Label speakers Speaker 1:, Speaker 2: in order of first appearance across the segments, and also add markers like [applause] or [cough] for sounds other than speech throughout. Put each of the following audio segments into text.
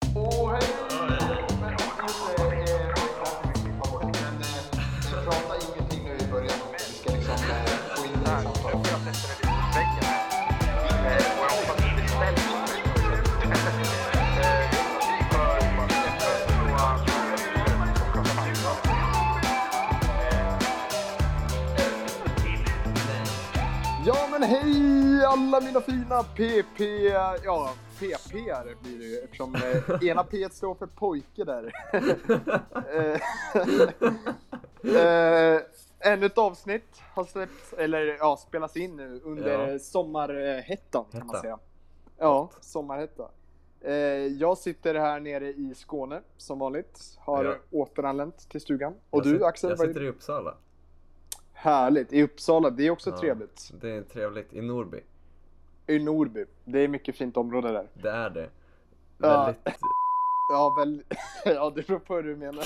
Speaker 1: eh, liksom, eh, men hej alla mina fina PP, ja PP blir det ju eftersom eh, ena P står för pojke där. Eh, [laughs] eh, Ännu ett avsnitt har släppts, eller ja, spelas in nu under
Speaker 2: Ja.
Speaker 1: sommarhettan kan man
Speaker 2: Hetta.
Speaker 1: säga. Ja, sommarhetta. Eh, jag sitter här nere i Skåne som vanligt, har
Speaker 2: Ja.
Speaker 1: återanlänt till stugan. Och
Speaker 2: Jag sit-
Speaker 1: du Axel,
Speaker 2: Jag
Speaker 1: vad är-
Speaker 2: sitter i Uppsala.
Speaker 1: härligt, i Uppsala, det är också
Speaker 2: Ja.
Speaker 1: trevligt.
Speaker 2: Det är trevligt. I Norby.
Speaker 1: I Norby. Det är mycket fint område där.
Speaker 2: Det är det.
Speaker 1: Ja. [laughs]
Speaker 2: Väldigt...
Speaker 1: Ja, väl... [laughs] ja det beror på hur du menar.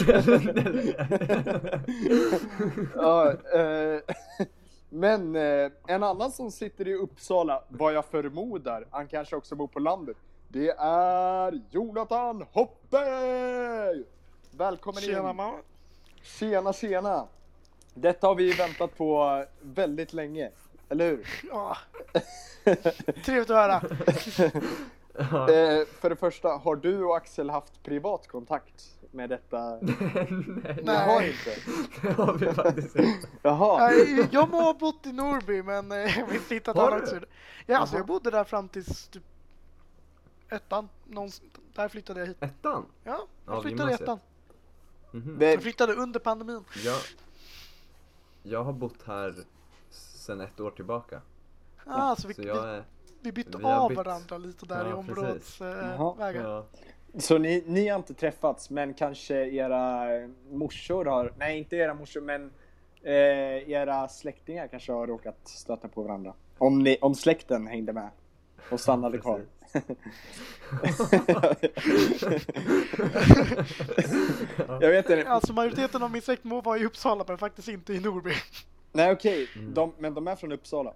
Speaker 2: [laughs]
Speaker 1: ja, eh... [laughs] Men eh, en annan som sitter i Uppsala, vad jag förmodar, han kanske också bor på landet, det är Jonathan Hoppe! Välkommen
Speaker 3: Tjena
Speaker 1: in!
Speaker 3: mamma!
Speaker 1: Tjena, tjena! Detta har vi väntat på väldigt länge, eller hur?
Speaker 3: Ja. Trevligt att höra.
Speaker 2: Ja.
Speaker 1: Eh, för det första, har du och Axel haft privat kontakt med detta?
Speaker 2: Nej,
Speaker 1: Ni har
Speaker 3: Nej.
Speaker 1: inte?
Speaker 2: det har vi faktiskt inte.
Speaker 1: Jaha.
Speaker 3: Nej, Eh, Jag må ha bott i Norby men eh, jag visste inte att
Speaker 2: Har
Speaker 3: han
Speaker 2: du?
Speaker 3: också ja, alltså,
Speaker 1: Jaha.
Speaker 3: Jag bodde där fram tills typ ettan. Någonstans. Där flyttade jag hit.
Speaker 2: Ettan?
Speaker 3: Ja,
Speaker 2: Ja,
Speaker 3: jag flyttade i
Speaker 2: gymnasiet.
Speaker 3: ettan.
Speaker 2: Mhm.
Speaker 1: Det,
Speaker 3: Jag flyttade under pandemin.
Speaker 2: Jag, jag har bott här sedan ett år tillbaka.
Speaker 3: Ah, så vi,
Speaker 2: Så jag är...
Speaker 3: vi, vi bytte
Speaker 2: vi har
Speaker 3: av
Speaker 2: bytt.
Speaker 3: varandra lite där
Speaker 2: Ja,
Speaker 3: i
Speaker 2: precis.
Speaker 1: Jaha.
Speaker 3: områdesvägar. Eh,
Speaker 1: [laughs]
Speaker 2: Ja,
Speaker 1: Så ni, ni har inte träffats, men kanske era morsor har... Nej, inte era morsor, men eh, era släktingar kanske har råkat stöta på varandra. Om, ni, om släkten hängde med och stannade kvar. Jag vet inte.
Speaker 3: Alltså majoriteten av min släkt må vara i Uppsala men faktiskt inte i Norby.
Speaker 1: Nej, okej.
Speaker 2: Mm.
Speaker 1: De, men de är från Uppsala.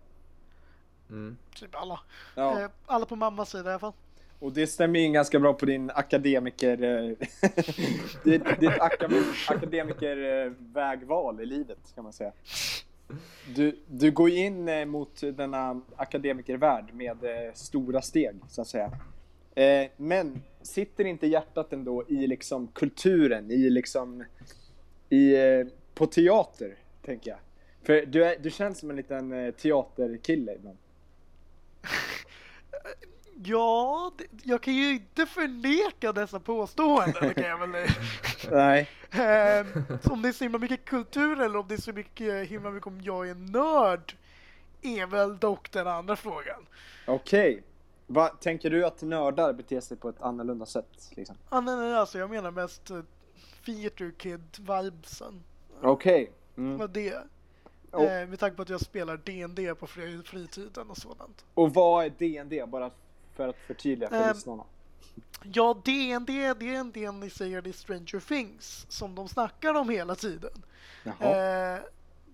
Speaker 2: mm.
Speaker 3: [laughs] Typ alla.
Speaker 1: Ja.
Speaker 3: Eh, Alla på mammas sida i alla fall.
Speaker 1: Och det stämmer ju in ganska bra på din akademiker... eh, [laughs] ditt ditt akademikervägval i livet, kan man säga. Du, du går ju in eh, mot denna akademikervärld med eh, stora steg, så att säga. Eh, men sitter inte hjärtat ändå i liksom kulturen, i liksom... I, eh, på teater, tänker jag. För du, är, du känns som en liten eh, teaterkille ibland.
Speaker 3: Ja, det, jag kan ju inte förneka dessa påståenden. Det kan jag väl.
Speaker 1: Nej.
Speaker 3: Eh, så om det är så himla mycket kultur eller om det är så mycket, eh, himla mycket om jag är nörd är väl dock den andra frågan.
Speaker 1: Okej. Va, tänker du att nördar beter sig på ett annorlunda sätt? Liksom?
Speaker 3: Ah, nej, nej, alltså jag menar mest eh, theater kid-vibesen.
Speaker 1: Okej. Mm.
Speaker 3: Vad det
Speaker 1: Och,
Speaker 3: eh, Med tanke på att jag spelar D&D på fri- fritiden och sådant.
Speaker 1: och vad är DND? Bara för att förtydliga för
Speaker 3: Ehm,
Speaker 1: lyssnarna.
Speaker 3: Ja, D&D det är en del ni säger i Stranger Things som de snackar om hela tiden.
Speaker 1: Jaha.
Speaker 3: Eh,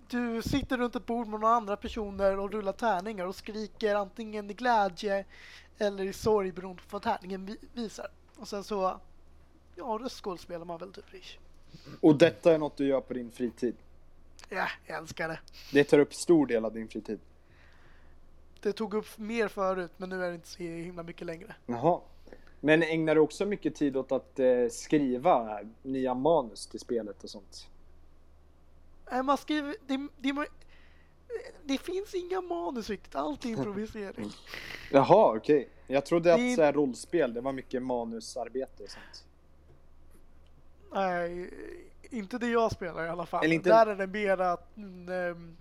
Speaker 3: du sitter runt ett bord med några andra personer och rullar tärningar och skriker antingen i glädje eller i sorg beroende på vad tärningen vi- visar. Och sen så, ja, röstskådespelar man väl typ. ish.
Speaker 1: Och detta är något du gör på din fritid?
Speaker 3: Ja, jag älskar det.
Speaker 1: Det tar upp stor del av din fritid?
Speaker 3: Det tog upp mer förut, men nu är det inte så himla mycket längre.
Speaker 1: Jaha. Men ägnar du också mycket tid åt att eh, skriva nya manus till spelet och sånt?
Speaker 3: Nej, Eh, man skriver, det, det, det finns inga manus riktigt, allt är improvisering.
Speaker 1: Jaha, okej. Jag trodde att
Speaker 3: Det-
Speaker 1: så här, rollspel, det var mycket manusarbete och sånt.
Speaker 3: Nej, inte det jag spelar i alla fall.
Speaker 1: Eller inte-
Speaker 3: Där är det mer att mm, ehm,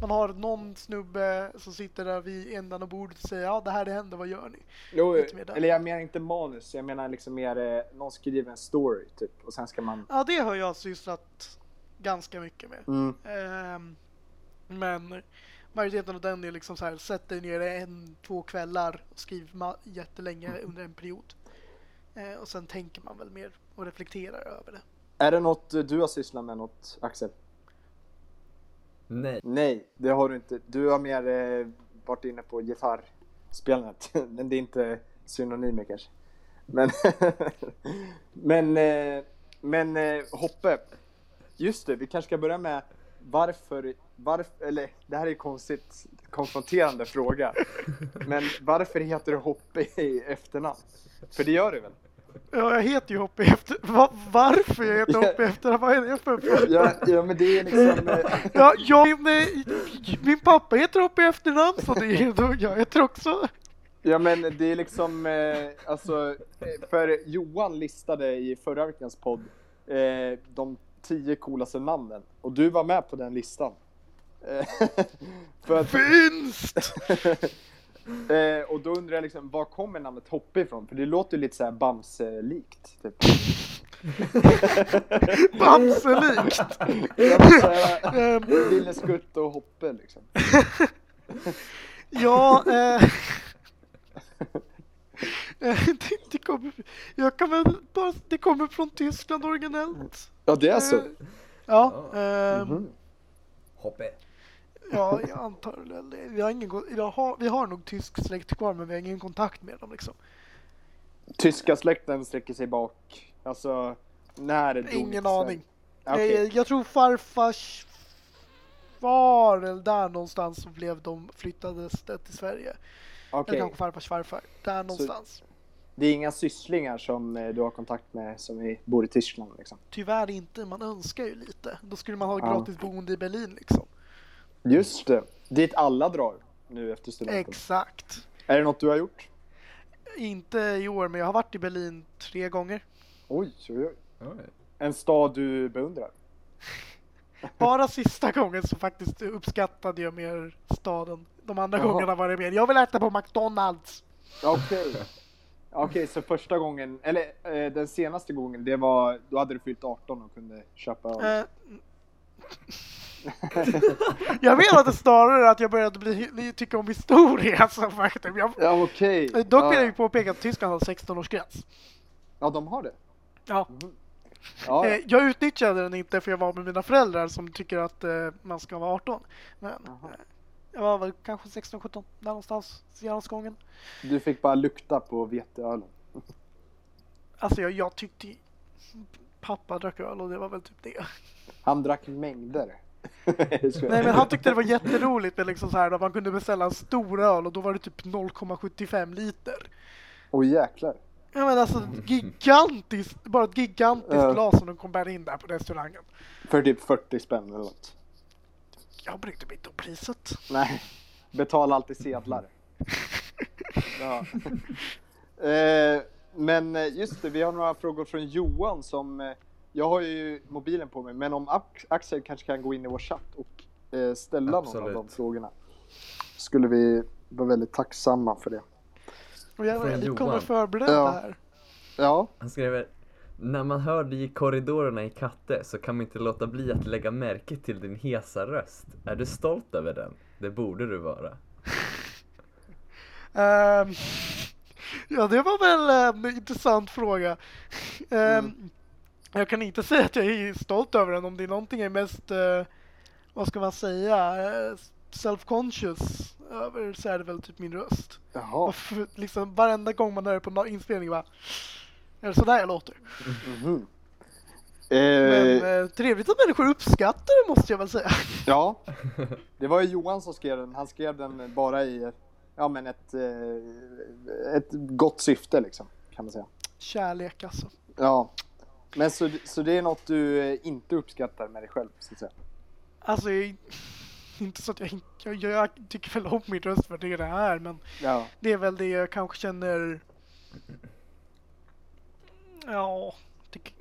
Speaker 3: man har någon snubbe som sitter där vid ändan av bordet och säger ja det här det händer, vad gör ni?
Speaker 1: Jo,
Speaker 3: Lite mer där.
Speaker 1: eller jag menar inte manus, jag menar liksom mer eh, någon skriver en story typ och sen ska man...
Speaker 3: Ja det har jag sysslat ganska mycket med.
Speaker 1: Mm.
Speaker 3: Ehm, men majoriteten av den är liksom så här sätt dig ner en, två kvällar och skriv ma- jättelänge
Speaker 1: Mm.
Speaker 3: under en period. Eh, och sen tänker man väl mer och reflekterar över det.
Speaker 1: Är det något du har sysslat med något, Axel?
Speaker 2: Nej.
Speaker 1: Nej, det har du inte. Du har mer eh, varit inne på gitarrspelandet. [laughs] Men det är inte synonymer kanske. Men, [laughs] men, eh, men eh, Hoppe. Just det, vi kanske ska börja med varför, varför, eller det här är en konstigt konfronterande fråga. Men varför heter du Hoppe i efternamn? För det gör du väl?
Speaker 3: Ja, jag heter ju Hoppy efter... Va, varför jag heter Hoppy efter? Vad är det för fråga?
Speaker 1: Ja, ja men det är liksom... eh,
Speaker 3: Ja, jag, nej, min pappa heter Hoppy efternamn så det är då jag heter också.
Speaker 1: Ja men det är liksom, eh, alltså, eh, för Johan listade i förra veckans podd eh, de tio coolaste namnen och du var med på den listan. Eh, [laughs] för att, [laughs]
Speaker 3: Vinst!
Speaker 1: eh, och då undrar jag liksom, var kommer namnet Hoppe ifrån? För det låter ju lite såhär Bamse-likt. Typ.
Speaker 3: Bamselikt!
Speaker 1: Ja, men så här,
Speaker 3: Ehm,
Speaker 1: Lille Skutt och Hoppe liksom.
Speaker 3: Ja, eh... eh, det, det kommer, jag kan väl bara, det kommer från Tyskland originellt.
Speaker 1: Ja det är så?
Speaker 3: Eh, ja,
Speaker 2: Ja.
Speaker 3: ehm,
Speaker 1: Mhm.
Speaker 2: Hoppe.
Speaker 3: ja, jag antar väl det. Vi har, ingen, kon- jag har, vi har nog tysk släkt kvar men vi har ingen kontakt med dem liksom.
Speaker 1: Tyska släkten sträcker sig bak, alltså när dog
Speaker 3: Ingen
Speaker 1: Sverige?
Speaker 3: aning.
Speaker 1: Okej.
Speaker 3: Eh, jag tror farfars far eller där någonstans så blev de flyttades det till Sverige.
Speaker 1: okej.
Speaker 3: Eller kanske farfars farfar. Där någonstans.
Speaker 1: Det är inga sysslingar som eh, du har kontakt med som i- bor i Tyskland liksom?
Speaker 3: Tyvärr inte, man önskar ju lite. Då skulle man ha
Speaker 1: Ja.
Speaker 3: gratis boende i Berlin liksom.
Speaker 1: Just det. Dit alla drar nu efter studenten.
Speaker 3: Exakt.
Speaker 1: Är det något du har gjort?
Speaker 3: Inte i år, men jag har varit i Berlin tre gånger.
Speaker 1: Oj, oj, oj.
Speaker 2: Oj.
Speaker 1: En stad du beundrar? [laughs]
Speaker 3: Bara sista gången så faktiskt uppskattade jag mer staden. De andra
Speaker 1: Jaha.
Speaker 3: gångerna var det mer, jag vill äta på McDonalds.
Speaker 1: Okej.
Speaker 3: [laughs]
Speaker 1: Okej, så första gången, eller eh, den senaste gången, det var, då hade du fyllt 18 och kunde köpa öl.
Speaker 3: Eh, [laughs] jag menade snarare att jag började bli, ni tycker om historia [laughs] som faktum. Jag,
Speaker 1: Ja, okej.
Speaker 3: eh, dock vill
Speaker 1: Ja.
Speaker 3: jag ju påpeka att Tyskland har 16-årsgräns.
Speaker 1: ja, de har det?
Speaker 3: Ja.
Speaker 1: Ja,
Speaker 3: Eh, jag utnyttjade den inte för jag var med mina föräldrar som tycker att eh, man ska vara 18. Men
Speaker 1: Jaha.
Speaker 3: eh, jag var väl kanske 16-17, där någonstans, senaste gången.
Speaker 1: du fick bara lukta på veteölen.
Speaker 3: Alltså jag, jag tyckte pappa drack öl och det var väl typ det.
Speaker 1: Han drack mängder. [laughs]
Speaker 3: Nej men han tyckte det var jätteroligt med liksom så här att man kunde beställa en stor öl och då var det typ 0,75 liter.
Speaker 1: Åh jäklar.
Speaker 3: Ja men alltså gigantiskt, bara ett gigantiskt
Speaker 1: Ja.
Speaker 3: glas som de kom bära in där på restaurangen.
Speaker 1: För typ 40 spänn eller något.
Speaker 3: Jag brydde mig inte om priset.
Speaker 1: Nej, betala alltid sedlar. Ja. Eh, men eh, just det, vi har några frågor från Johan som... eh, Jag har ju mobilen på mig, men om Ax- Axel kanske kan gå in i vår chatt och eh, ställa någon av
Speaker 2: Absolut.
Speaker 1: de frågorna. Skulle vi vara väldigt tacksamma för det.
Speaker 3: Och jag var
Speaker 2: Från
Speaker 3: väldigt
Speaker 2: Johan.
Speaker 3: kommer förberedda
Speaker 1: Ja.
Speaker 3: här.
Speaker 1: Ja,
Speaker 2: Han skriver När man hör dig i korridorerna i Katte så kan man inte låta bli att lägga märke till din hesa röst. Är du stolt över den? Det borde du vara.
Speaker 3: Ehm, ja, det var väl ehm, en intressant fråga. Ehm,
Speaker 1: Mm.
Speaker 3: Jag kan inte säga att jag är stolt över den om det är någonting jag är mest, eh, vad ska man säga, eh, self-conscious över så är det väl typ min röst.
Speaker 1: jaha.
Speaker 3: Och f- liksom varenda gång man hör det på nå- inspelning bara, är det sådär jag låter?
Speaker 1: mhm.
Speaker 3: Men
Speaker 1: Eh,
Speaker 3: eh, trevligt att människor uppskattar det måste jag väl säga.
Speaker 1: Ja, det var ju Johan som skrev den. Han skrev den bara i ja, men ett, eh, ett gott syfte liksom, kan man säga.
Speaker 3: Kärlek alltså.
Speaker 1: Ja, men så, så det är något du eh, inte uppskattar med dig själv, så att säga.
Speaker 3: Alltså, jag, inte så att jag, jag, jag tycker väl om min röst för det är det här men
Speaker 1: Ja.
Speaker 3: Det är väl det jag kanske känner... Ja, tyck...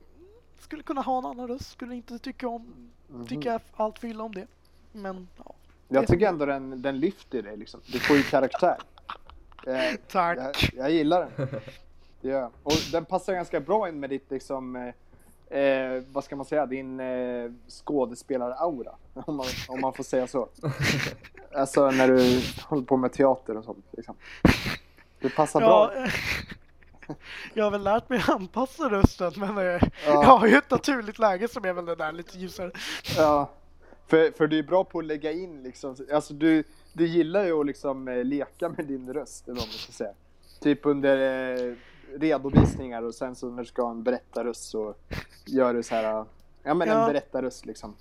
Speaker 3: skulle kunna ha en annan röst. Skulle inte tycka om...
Speaker 1: Mhm.
Speaker 3: Tycka allt för illa om det. Men ja.
Speaker 1: Jag tycker ändå den, den lyfter dig liksom. Du får ju karaktär. Eh,
Speaker 3: Tack.
Speaker 1: jag, jag gillar den. Det gör jag. Och den passar ganska bra in med ditt liksom, eh, eh, vad ska man säga, din eh, skådespelaraura. Om man, om man får säga så. Alltså när du håller på med teater och sånt. Liksom. Det passar
Speaker 3: Ja,
Speaker 1: bra.
Speaker 3: [laughs] jag har väl lärt mig att anpassa rösten men eh, jag
Speaker 1: Ja,
Speaker 3: har ju ett naturligt läge som är väl det där lite ljusare.
Speaker 1: ja. För, för du är bra på att lägga in liksom, alltså du, du gillar ju att liksom eh, leka med din röst eller vad man ska säga. Typ under eh, redovisningar och sen så när du ska ha en berättarröst så gör du så här, eh, ja men
Speaker 3: Ja.
Speaker 1: en berättarröst liksom.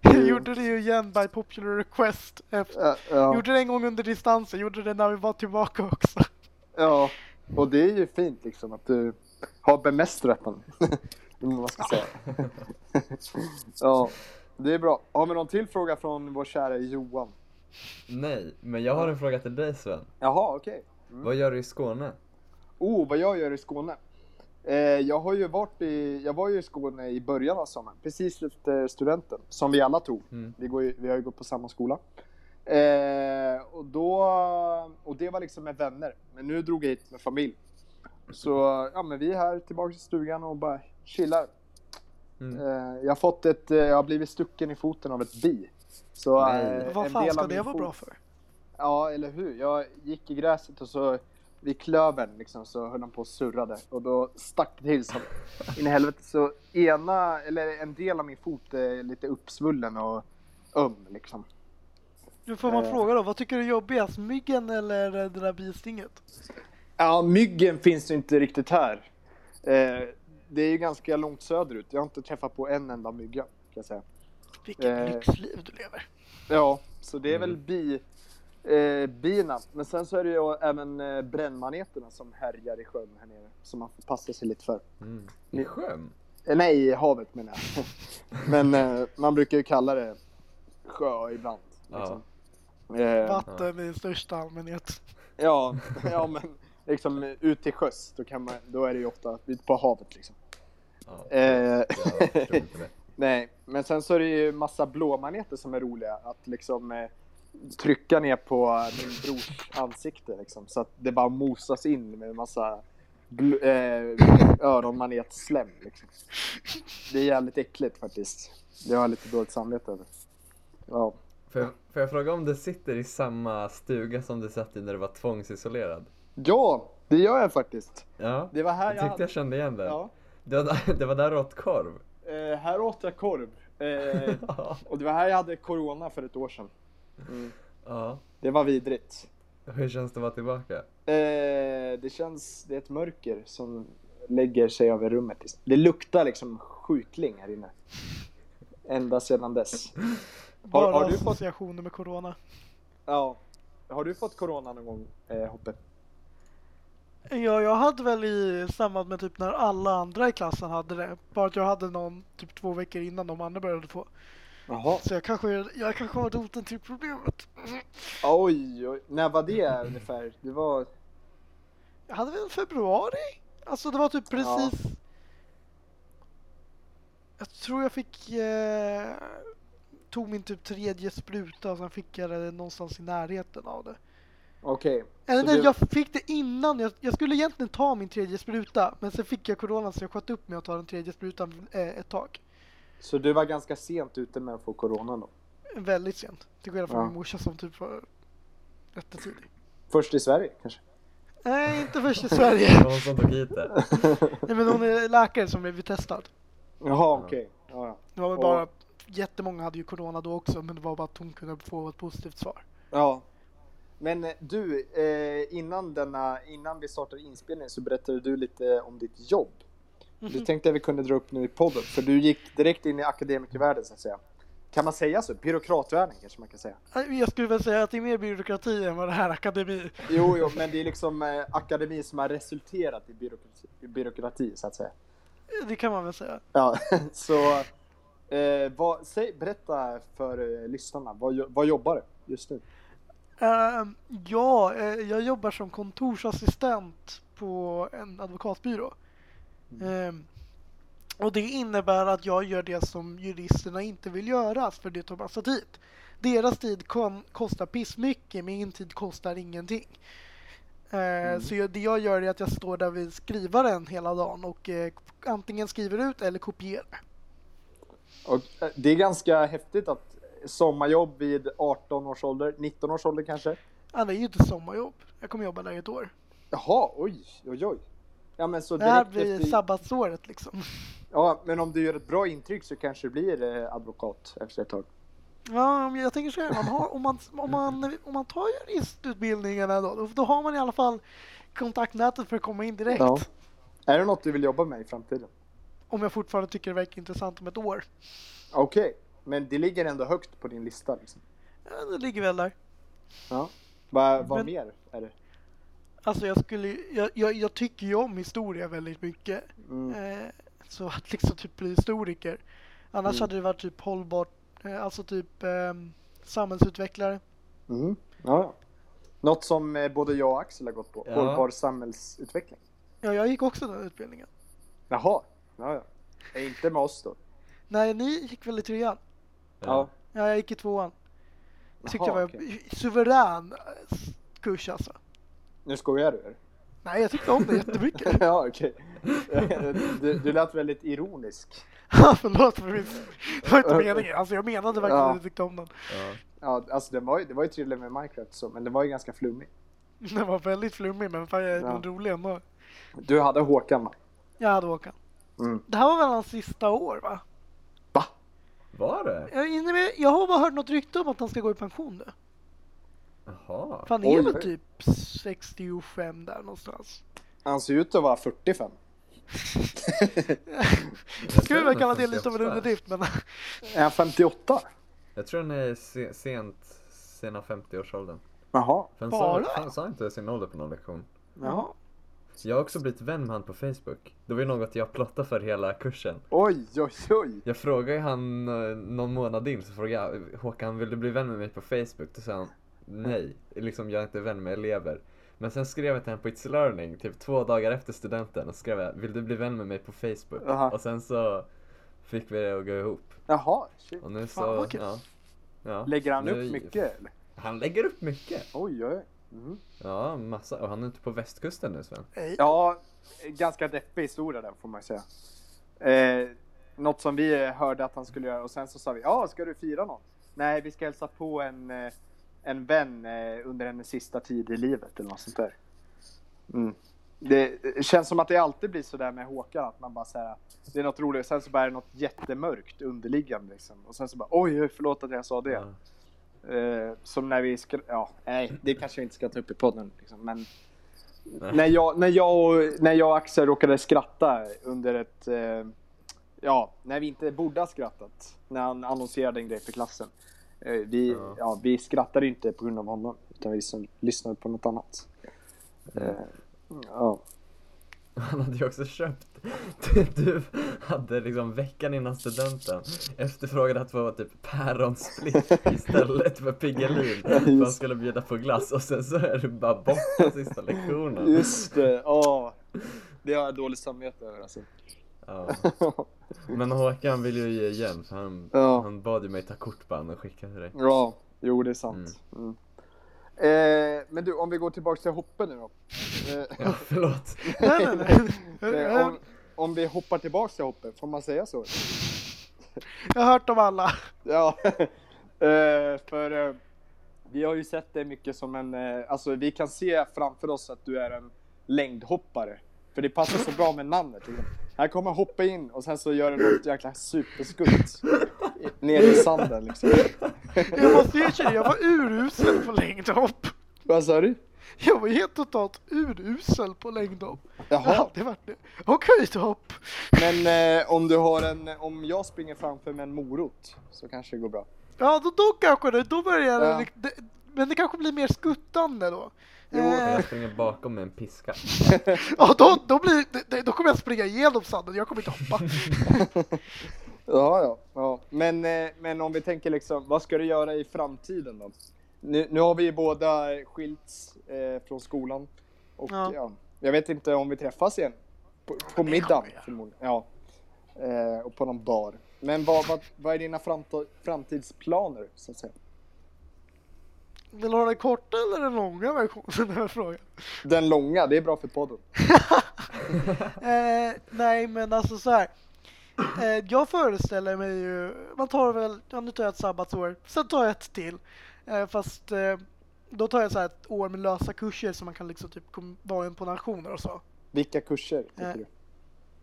Speaker 3: Jag [laughs] gjorde det ju igen by popular request. Efter...
Speaker 1: Ja, ja,
Speaker 3: Gjorde det en gång under
Speaker 1: Eh,
Speaker 3: distansen, gjorde det när vi var tillbaka också.
Speaker 1: ja, och det är ju fint liksom att du har bemästrat den. [laughs] Eller vad man ska
Speaker 3: [laughs]
Speaker 1: säga. ja, det är bra. Har vi någon till fråga från vår kära Johan?
Speaker 2: Nej, men jag har en fråga till dig Sven.
Speaker 1: Jaha, okej.
Speaker 2: Vad gör du i Skåne?
Speaker 1: Oh, vad jag gör i Skåne. Eh, jag, har ju varit i, jag var ju i Skåne i början av sommaren, precis efter studenten, som vi alla tog.
Speaker 2: Mm.
Speaker 1: Vi, går ju, vi har ju gått på samma skola. Eh, och, då, och det var liksom med vänner, men nu drog jag hit med familj. Så ja, men vi är här tillbaka i stugan och bara chillar.
Speaker 2: Mm.
Speaker 1: Eh, jag, har fått ett, eh, jag har blivit stucken i foten av ett bi. Så,
Speaker 2: Nej.
Speaker 1: eh, en
Speaker 3: Vad fan
Speaker 1: del
Speaker 3: ska
Speaker 1: av min
Speaker 3: det vara
Speaker 1: fot-
Speaker 3: bra för?
Speaker 1: Ja, eller hur. Jag gick i gräset och så vid klövern liksom, så höll han på och surrade och då stack det till som in i helvete. Så ena, eller en del av min fot är lite uppsvullen och öm liksom.
Speaker 3: Nu får man
Speaker 1: Eh.
Speaker 3: fråga då, vad tycker du är jobbigast? Myggen eller det där bistinget?
Speaker 1: Ja, myggen finns ju inte riktigt här. Eh, det är ju ganska långt söderut. Jag har inte träffat på en enda mygga kan jag säga.
Speaker 3: Vilket
Speaker 1: Eh.
Speaker 3: lyxliv du lever.
Speaker 1: Ja, så det är väl
Speaker 2: Mm.
Speaker 1: bi, eh, bina. Men sen så är det ju även eh, brännmaneterna som härjar i sjön här nere som man får passa sig lite för.
Speaker 2: Mm. I sjön?
Speaker 1: Eh, Nej, i havet menar jag. Men eh, man brukar ju kalla det sjö ibland. Liksom. Ja.
Speaker 3: Vatten i största allmänhet.
Speaker 1: Ja, [laughs] ja, men liksom eh, ut till sjöss, då, kan man, då är det ju ofta ut på havet liksom.
Speaker 2: Ja,
Speaker 1: Eh,
Speaker 2: jag förstår inte [laughs] det.
Speaker 1: nej, men sen så är det ju massa blåmaneter som är roliga att liksom eh, trycka ner på min brors ansikte liksom, så att det bara mosas in med massa bl- eh, öronmanetslem liksom. Det är jävligt äckligt faktiskt. Det har jag lite dåligt samvete över. Ja.
Speaker 2: Får jag, får jag fråga om du sitter i samma stuga som du satt i när du var tvångsisolerad?
Speaker 1: ja, det gör jag faktiskt.
Speaker 2: Ja,
Speaker 1: Det var här jag
Speaker 2: jag tyckte
Speaker 1: hade...
Speaker 2: jag kände igen den.
Speaker 1: Ja.
Speaker 2: Det, var där, [laughs] det var där råttkorv.
Speaker 1: Eh, här åt jag korv.
Speaker 2: [laughs]
Speaker 1: Eh, och det var här jag hade corona för ett år sedan.
Speaker 2: ja.
Speaker 1: Det var vidrigt.
Speaker 2: Hur känns det att vara [laughs] tillbaka?
Speaker 1: Eh, det känns, det är ett mörker som lägger sig över rummet. Det luktar liksom sjukling här inne. Ända sedan dess.
Speaker 3: Bara
Speaker 1: har du fått-
Speaker 3: associationer med corona.
Speaker 1: Ja. Har du fått corona någon gång, eh, Hoppe?
Speaker 3: Ja, jag hade väl i samband med typ när alla andra i klassen hade det. Bara att jag hade någon typ två veckor innan de andra började få.
Speaker 1: Jaha.
Speaker 3: Så jag kanske, jag kanske har roten till problemet.
Speaker 1: Oj, oj. När var det ungefär? Det var...
Speaker 3: Jag hade väl februari? Alltså det var typ precis... Jag tror jag fick... Eh, tog min typ tredje spruta och sen fick jag det någonstans i närheten av det.
Speaker 1: Okej.
Speaker 3: Eller
Speaker 1: Så
Speaker 3: nej,
Speaker 1: det-
Speaker 3: jag fick det innan. Jag, jag skulle egentligen ta min tredje spruta men sen fick jag corona så jag sköt upp mig att ta den tredje sprutan eh, ett tag.
Speaker 1: Så du var ganska sent ute med att få corona då?
Speaker 3: Väldigt sent. Till skillnad från
Speaker 1: Ja.
Speaker 3: min morsa som typ var
Speaker 1: [laughs]
Speaker 3: jättetidig.
Speaker 1: Först i Sverige kanske?
Speaker 3: Nej, inte först i
Speaker 2: Det
Speaker 3: Sverige.
Speaker 2: var hon som tog hit det.
Speaker 3: Nej, men hon är läkare som blev testad.
Speaker 1: Jaha, okej. Ja, ja.
Speaker 3: Det var väl
Speaker 1: Och-
Speaker 3: bara, jättemånga hade ju corona då också men det var bara att hon kunde få ett positivt svar.
Speaker 1: Ja. Men eh, du, eh, innan, denna, innan vi startade inspelningen så berättade du lite om ditt jobb. Det tänkte jag vi kunde dra upp nu i podden, för du gick direkt in i akademikervärlden så att säga. Kan man säga så? Byråkratvärlden kanske man kan säga.
Speaker 3: Nej, Jag skulle väl säga att det är mer byråkrati än vad det här är akademi.
Speaker 1: Jo, jo, men det är liksom eh, akademi som har resulterat i byråkrati, i byråkrati så att säga.
Speaker 3: Det kan man väl säga.
Speaker 1: Ja, [laughs] så eh, vad, säg, berätta för eh, lyssnarna, vad, jo- vad jobbar du just nu?
Speaker 3: Ehm, ja, eh, jag jobbar som kontorsassistent på en advokatbyrå. Ehm, och det innebär att jag gör det som juristerna inte vill göra för det tar massa tid. Deras tid kon- kostar pissmycket, min tid kostar ingenting. Eh, Så jag, det jag gör är att jag står där vid skrivaren hela dagen och eh, antingen skriver ut eller kopierar.
Speaker 1: Och eh, det är ganska häftigt att sommarjobb vid 18 års ålder, 19 års ålder kanske?
Speaker 3: Ah, det är ju inte sommarjobb. Jag kommer jobba där i ett år.
Speaker 1: Jaha, oj, oj, oj. Ja, men så
Speaker 3: Det här
Speaker 1: direkt
Speaker 3: blir
Speaker 1: efter-
Speaker 3: sabbatsåret liksom.
Speaker 1: Ja, men om du gör ett bra intryck så kanske du blir eh, advokat efter ett tag.
Speaker 3: Ja, men jag tänker så här, man har, om, man, om, man, om man tar juristutbildningarna då, då, då har man i alla fall kontaktnätet för att komma in direkt.
Speaker 1: Ja. Är det något du vill jobba med i framtiden?
Speaker 3: Om jag fortfarande tycker det verkar intressant om ett år.
Speaker 1: Okej, men det ligger ändå högt på din lista. Liksom.
Speaker 3: Ja, det ligger väl där.
Speaker 1: Ja. Vad, vad
Speaker 3: Men-
Speaker 1: mer är det?
Speaker 3: Alltså jag skulle jag, jag, jag tycker ju om historia väldigt mycket.
Speaker 1: Mm.
Speaker 3: Eh, så att liksom typ bli historiker. Annars
Speaker 1: Mm.
Speaker 3: hade det varit typ hållbart, eh, alltså typ eh, samhällsutvecklare.
Speaker 1: Mm. Ja, ja. Något som eh, både jag och Axel har gått på.
Speaker 2: Ja.
Speaker 1: Hållbar samhällsutveckling.
Speaker 3: Ja, jag gick också den utbildningen.
Speaker 1: Jaha. Ja, ja. Eh, Inte med oss då.
Speaker 3: Nej, ni gick väl i trean?
Speaker 1: Ja.
Speaker 3: Ja, jag gick i tvåan. Jag tyckte
Speaker 1: Jaha,
Speaker 3: det var en suverän eh, s- kurs alltså.
Speaker 1: Nu skojar du? eller?
Speaker 3: Nej, jag tyckte om det jättemycket.
Speaker 1: [laughs]
Speaker 3: [laughs]
Speaker 1: ja, okej. du, du lät väldigt ironisk.
Speaker 3: Förlåt för min... Det var inte meningen. Alltså jag menade verkligen
Speaker 1: Ja.
Speaker 3: att jag tyckte om den.
Speaker 2: ja.
Speaker 1: Ja, alltså det var ju, det var ju trevligt med Minecraft, så, men det var ju ganska flummig.
Speaker 3: Den var väldigt flummig men fan, jag-
Speaker 1: Ja.
Speaker 3: den rolig ändå.
Speaker 1: Du hade Håkan, va?
Speaker 3: Jag hade Håkan.
Speaker 1: Mm.
Speaker 3: Det här var väl hans sista år va?
Speaker 1: Va?
Speaker 2: Var det?
Speaker 3: Jag, är inne med, jag har bara hört något rykte om att han ska gå i pension nu.
Speaker 2: Jaha.
Speaker 3: Fan
Speaker 1: Oj.
Speaker 3: är väl typ 65 där någonstans.
Speaker 1: Han ser ut att vara 45.
Speaker 2: Jag
Speaker 3: Skulle
Speaker 2: tror
Speaker 3: väl
Speaker 2: den
Speaker 3: kalla
Speaker 2: är
Speaker 3: det lite av en
Speaker 2: 58.
Speaker 3: underdrift men
Speaker 1: [laughs] Är han 58?
Speaker 2: Jag tror den är se- sent, sena 50-årsåldern.
Speaker 1: Jaha.
Speaker 2: För Han
Speaker 3: Bara?
Speaker 2: sa, han sa inte sin ålder på någon lektion.
Speaker 1: Jaha.
Speaker 2: Jag har också blivit vän med han på Facebook. Det var ju något jag plottade för hela kursen.
Speaker 1: Oj, oj, oj.
Speaker 2: Jag frågade ju han eh, någon månad in, så frågade jag eh, Håkan, vill du bli vän med mig på Facebook? Då sa han nej, liksom jag är inte vän med elever. Men sen skrev jag till honom på It's Learning, typ två dagar efter studenten, och skrev jag, vill du bli vän med mig på Facebook?
Speaker 1: Aha.
Speaker 2: Och sen så fick vi det att gå ihop.
Speaker 1: Jaha. shit.
Speaker 2: Och nu så,
Speaker 3: Fan, vad kul.
Speaker 2: ja. Ja,
Speaker 1: Lägger han
Speaker 2: nu-
Speaker 1: upp mycket? Eller?
Speaker 2: Han lägger upp mycket!
Speaker 1: Oj, oj. Mm.
Speaker 2: Ja, massa. Och han är ute på västkusten nu Sven.
Speaker 3: nej.
Speaker 1: Ja, ganska deppig historia den får man säga. Eh, något som vi eh, hörde att han skulle göra och sen så sa vi, ja, ska du fira någon? Nej, vi ska hälsa på en, eh, en vän eh, under hennes sista tid i livet eller något sånt där. Mm. Det eh, känns som att det alltid blir sådär med Håkan, att man bara säger det är något roligt, sen så bara är det något jättemörkt underliggande liksom. Och sen så bara, oj, förlåt att jag sa det.
Speaker 2: Ja.
Speaker 1: Eh, som när vi skrev, ja, nej, det kanske jag inte ska ta upp i podden. Liksom, men
Speaker 2: Nej.
Speaker 1: när jag, när, jag och, när jag och Axel råkade skratta under ett, eh, ja, när vi inte borde ha skrattat. När han annonserade en grej för klassen. Eh, vi,
Speaker 2: Ja.
Speaker 1: ja. vi skrattade inte på grund av honom, utan vi som lyssnade på något annat. Eh, ja.
Speaker 2: [laughs] Han hade ju också köpt, [laughs] du hade liksom veckan innan studenten efterfrågat att få typ päronsplitt istället för Piggelin för han
Speaker 1: Just.
Speaker 2: skulle bjuda på glass och sen så är du bara borta sista lektionen.
Speaker 1: Just det, ja. Det har jag dåligt samvete över alltså. [laughs]
Speaker 2: Ja. Men Håkan vill ju ge igen för han,
Speaker 1: Ja.
Speaker 2: han bad ju mig ta kort på honom och skicka till dig.
Speaker 1: Ja, jo det är sant. Mm. Eh, men du, om vi går tillbaka till hoppen nu då. Eh,
Speaker 2: Ja, förlåt.
Speaker 3: [laughs] nej, nej,
Speaker 1: [laughs] eh, om,
Speaker 3: nej.
Speaker 1: om vi hoppar tillbaka till hoppen, får man säga så?
Speaker 3: Jag har hört om alla.
Speaker 1: Ja, [laughs] eh, för eh, vi har ju sett dig mycket som en, eh, alltså vi kan se framför oss att du är en längdhoppare. För det passar så bra med namnet. Liksom. Här kommer hoppa in och sen så gör du något jäkla superskutt i- ner i sanden liksom.
Speaker 3: Jag måste erkänna, jag var urusel på längdhopp.
Speaker 1: Vad sa du?
Speaker 3: Jag var helt totalt urusel på längdhopp. Jag har
Speaker 1: Jaha.
Speaker 3: aldrig varit det. Och höjdhopp.
Speaker 1: Men eh, om du har en, om jag springer framför med en morot så kanske det går bra.
Speaker 3: Ja, då, då kanske det, då börjar det,
Speaker 1: Ja.
Speaker 3: likt- det. Men det kanske blir mer skuttande då.
Speaker 1: Jo.
Speaker 2: Jag
Speaker 3: Eh,
Speaker 2: springer bakom med en piska.
Speaker 3: ja, då, då, blir, det- det- då kommer jag springa igenom sanden, jag kommer inte hoppa.
Speaker 1: Ja, ja. ja. Men, eh, men om vi tänker liksom, vad ska du göra i framtiden då? Nu, nu har vi ju båda eh, skilts eh, från skolan. Och
Speaker 3: Ja.
Speaker 1: ja. jag vet inte om vi träffas igen. På, på middag förmodligen. Ja. Eh, och på någon bar. Men vad, vad, vad är dina framto- framtidsplaner så att säga?
Speaker 3: Vill du ha den korta eller den långa versionen? Den här frågan.
Speaker 1: Den långa, det är bra för podden.
Speaker 3: Eh, nej, men alltså så här. Eh, jag föreställer mig ju, man tar väl, ja nu tar jag ett sabbatsår, sen tar jag ett till. Eh, fast eh, då tar jag så här ett år med lösa kurser så man kan liksom typ kom- vara in på nationer och så.
Speaker 1: Vilka kurser tycker
Speaker 3: Eh.
Speaker 1: du?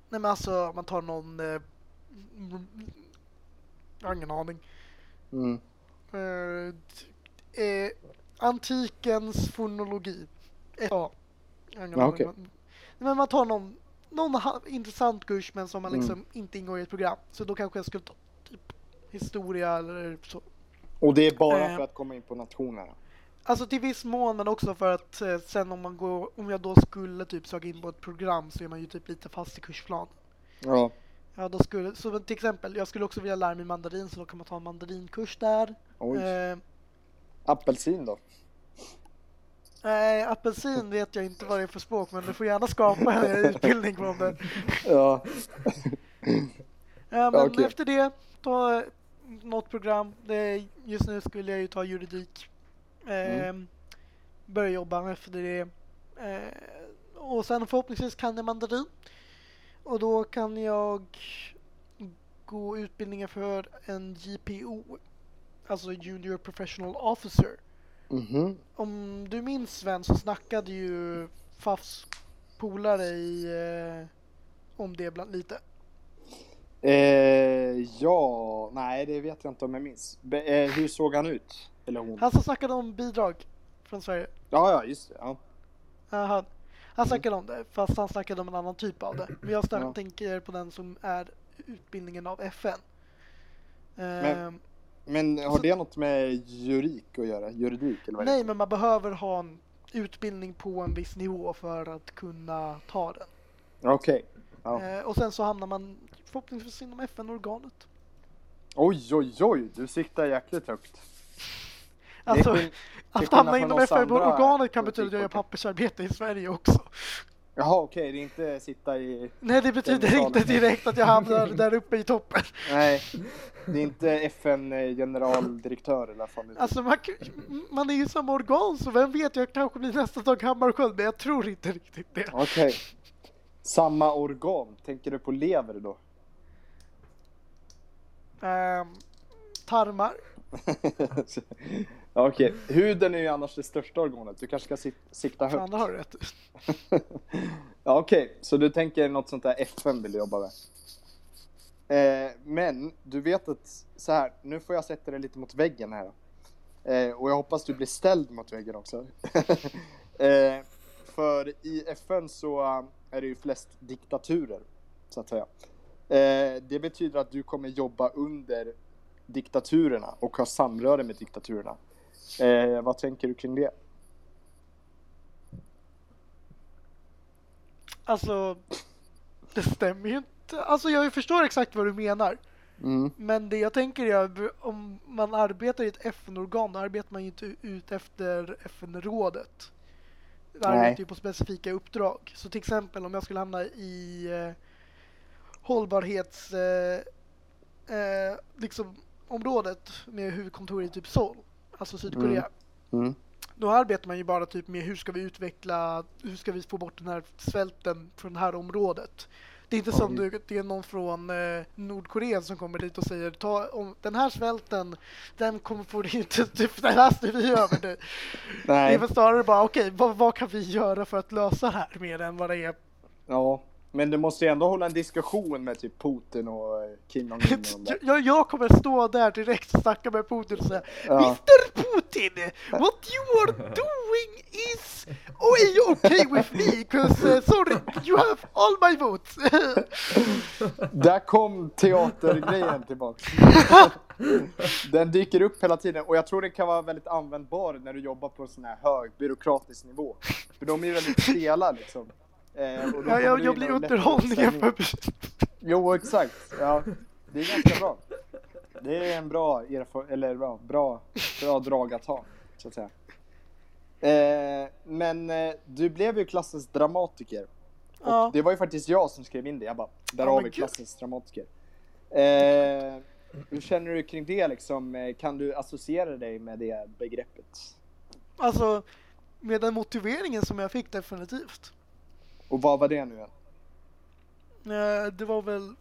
Speaker 3: Nej men alltså man tar någon, eh, mm, jag har ingen aning.
Speaker 1: Mm.
Speaker 3: Eh, t- eh, antikens fonologi. Eh, Ja. Jag har ingen
Speaker 1: Ja,
Speaker 3: aning.
Speaker 1: okej.
Speaker 3: Men- Men man tar någon, någon ha- intressant kurs men som man
Speaker 1: Mm.
Speaker 3: liksom inte ingår i ett program. Så då kanske jag skulle ta typ historia eller så.
Speaker 1: Och det är bara
Speaker 3: Eh.
Speaker 1: för att komma in på nationerna.
Speaker 3: Alltså till viss mån men också för att eh, sen om man går, om jag då skulle typ söka in på ett program så är man ju typ lite fast i kursplan.
Speaker 1: Ja.
Speaker 3: Ja då skulle, så men till exempel, jag skulle också vilja lära mig mandarin så då kan man ta en mandarinkurs där.
Speaker 1: Oj.
Speaker 3: Eh,
Speaker 1: Apelsin då?
Speaker 3: nej, apelsin vet jag inte vad det är för språk men du får gärna skapa en utbildning från det.
Speaker 1: Ja.
Speaker 3: Ja, men
Speaker 1: okej.
Speaker 3: efter det, ta eh, något program. Det- Just nu skulle jag ju ta juridik. Ehm, Börja jobba efter det. Eh, och sen förhoppningsvis kan jag mandarin. Och då kan jag gå utbildningen för en JPO. Alltså Junior Professional Officer.
Speaker 1: Mhm.
Speaker 3: Om du minns Sven så snackade ju Fafs polare i, eh, om det bland, lite.
Speaker 1: Eh, ja, nej det vet jag inte om jag minns. Be- eh, hur såg han ut? Eller hon?
Speaker 3: Han som snackade om bidrag från Sverige.
Speaker 1: Ja, ja, just det. Ja.
Speaker 3: Aha. Han snackade om det, fast han snackade om en annan typ av det. Men jag snack-
Speaker 1: Ja.
Speaker 3: tänker på den som är utbildningen av FN. Ehm,
Speaker 1: Men har
Speaker 3: Alltså-
Speaker 1: det något med juridik att göra? Juridik eller vad är det?
Speaker 3: nej, men man behöver ha en utbildning på en viss nivå för att kunna ta den.
Speaker 1: Okej. Ja.
Speaker 3: Eh, och sen så hamnar man förhoppningsvis inom FN-organet.
Speaker 1: Oj, oj, oj. Du siktar jäkligt högt. Det är
Speaker 3: Alltså,
Speaker 1: skill-
Speaker 3: att
Speaker 1: skillnad
Speaker 3: hamna
Speaker 1: från
Speaker 3: inom
Speaker 1: oss andra
Speaker 3: FN-organet kan betyda att jag gör
Speaker 1: politikfolk.
Speaker 3: pappersarbete i Sverige också.
Speaker 1: Jaha, okej. Det är inte sitta i...
Speaker 3: Nej, det betyder
Speaker 1: salen.
Speaker 3: inte direkt att jag
Speaker 1: [laughs]
Speaker 3: hamnar där uppe i toppen.
Speaker 1: Nej. Det är inte FN-generaldirektör eller vad fan det heter.
Speaker 3: Alltså man, man är ju samma organ så vem vet, jag kanske blir nästa Dag Hammarskjöld men jag tror inte riktigt det.
Speaker 1: Okej. Samma organ. Tänker du på lever då?
Speaker 3: Ehm, tarmar?
Speaker 1: [laughs] Ja, Okej, huden är ju annars det största organet. Du kanske ska sit- sikta
Speaker 3: Fan,
Speaker 1: högt.
Speaker 3: det har du rätt i.
Speaker 1: [laughs] ja, Okej, så du tänker något sånt där FN vill jobba med. Eh, men du vet att så här, nu får jag sätta dig lite mot väggen här. Eh, och jag hoppas du blir ställd mot väggen också. [laughs] eh, för i FN så eh, är det ju flest diktaturer, så att säga. Eh, det betyder att du kommer jobba under diktaturerna och ha samröre med diktaturerna. Eh, vad tänker du kring det?
Speaker 3: Alltså, det stämmer ju inte. Alltså jag förstår exakt vad du menar.
Speaker 1: Mm.
Speaker 3: Men det jag tänker är om man arbetar i ett FN-organ då arbetar man ju inte ut efter FN-rådet. Det
Speaker 1: Nej.
Speaker 3: arbetar ju typ på specifika uppdrag. Så till exempel om jag skulle hamna i eh, hållbarhets... Eh, eh, liksom området med huvudkontor i typ Seoul, alltså Sydkorea.
Speaker 1: Mm.
Speaker 3: Då arbetar man ju bara typ med hur ska vi utveckla, hur ska vi få bort den här svälten från det här området. Det är inte som
Speaker 1: Oj.
Speaker 3: du, det är någon från eh, Nordkorea som kommer dit och säger ta om den här svälten, den kommer få dig inte, [laughs] typ, den här styr vi över nu. Det
Speaker 1: Nej,
Speaker 3: är väl snarare bara okej, vad, vad kan vi göra för att lösa det här mer än vad det är.
Speaker 1: ja. Men du måste ju ändå hålla en diskussion med typ Putin och eh, Kim Jong-Un och de
Speaker 3: [laughs]
Speaker 1: där.
Speaker 3: Mm. Jag, jag kommer stå där direkt och snacka med Putin och säga
Speaker 1: Ja.
Speaker 3: Mr Putin, what you are doing is oh, okay with me, cause uh, sorry, you have all my votes.
Speaker 1: Där kom teatergrejen
Speaker 3: [laughs]
Speaker 1: tillbaks. Den dyker upp hela tiden och jag tror den kan vara väldigt användbar när du jobbar på en sån här hög byråkratisk nivå. För de är ju väldigt stela liksom. Eh, och då
Speaker 3: jag,
Speaker 1: kommer
Speaker 3: jag,
Speaker 1: du
Speaker 3: jag
Speaker 1: in
Speaker 3: blir
Speaker 1: och lättar upp
Speaker 3: underhållningen
Speaker 1: stämningen.
Speaker 3: för
Speaker 1: Jo, exakt. Ja, det är ganska bra. Det är en bra erfar- eller bra, bra, bra drag att ha, så att säga. Eh, men eh, du blev ju klassens dramatiker. Och
Speaker 3: [laughs] Ja.
Speaker 1: det var ju faktiskt jag som skrev in det. Jag bara, där
Speaker 3: Ja,
Speaker 1: har
Speaker 3: men
Speaker 1: vi
Speaker 3: gud.
Speaker 1: klassens dramatiker. Eh, hur känner du kring det liksom? Eh, Kan du associera dig med det begreppet?
Speaker 3: Alltså, med den motiveringen som jag fick definitivt.
Speaker 1: Och vad var det nu igen?
Speaker 3: Eh, Det var väl...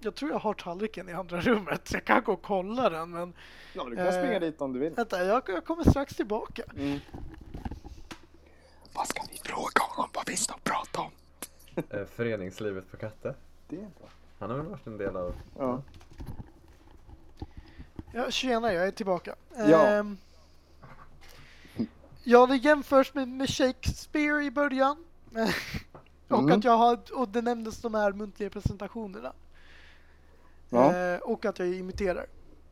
Speaker 3: Jag tror jag har tallriken i andra rummet, jag kan gå och kolla den men
Speaker 1: Ja, du kan springa
Speaker 3: Eh.
Speaker 1: dit om du vill.
Speaker 3: vänta, jag, jag kommer strax tillbaka.
Speaker 1: Mm. Vad ska vi fråga honom? Vad finns det att prata om?
Speaker 2: Eh, Föreningslivet på Katte.
Speaker 1: Det är bra.
Speaker 2: Han har väl varit en del av...
Speaker 1: Ja.
Speaker 3: Ja, tjena, jag är tillbaka.
Speaker 1: Ja.
Speaker 3: Ehm, ja, det jämförs med, med Shakespeare i början. [laughs] och
Speaker 1: Mm.
Speaker 3: att jag har, och det nämndes de här muntliga presentationerna.
Speaker 1: Ja.
Speaker 3: Eh, och att jag imiterar.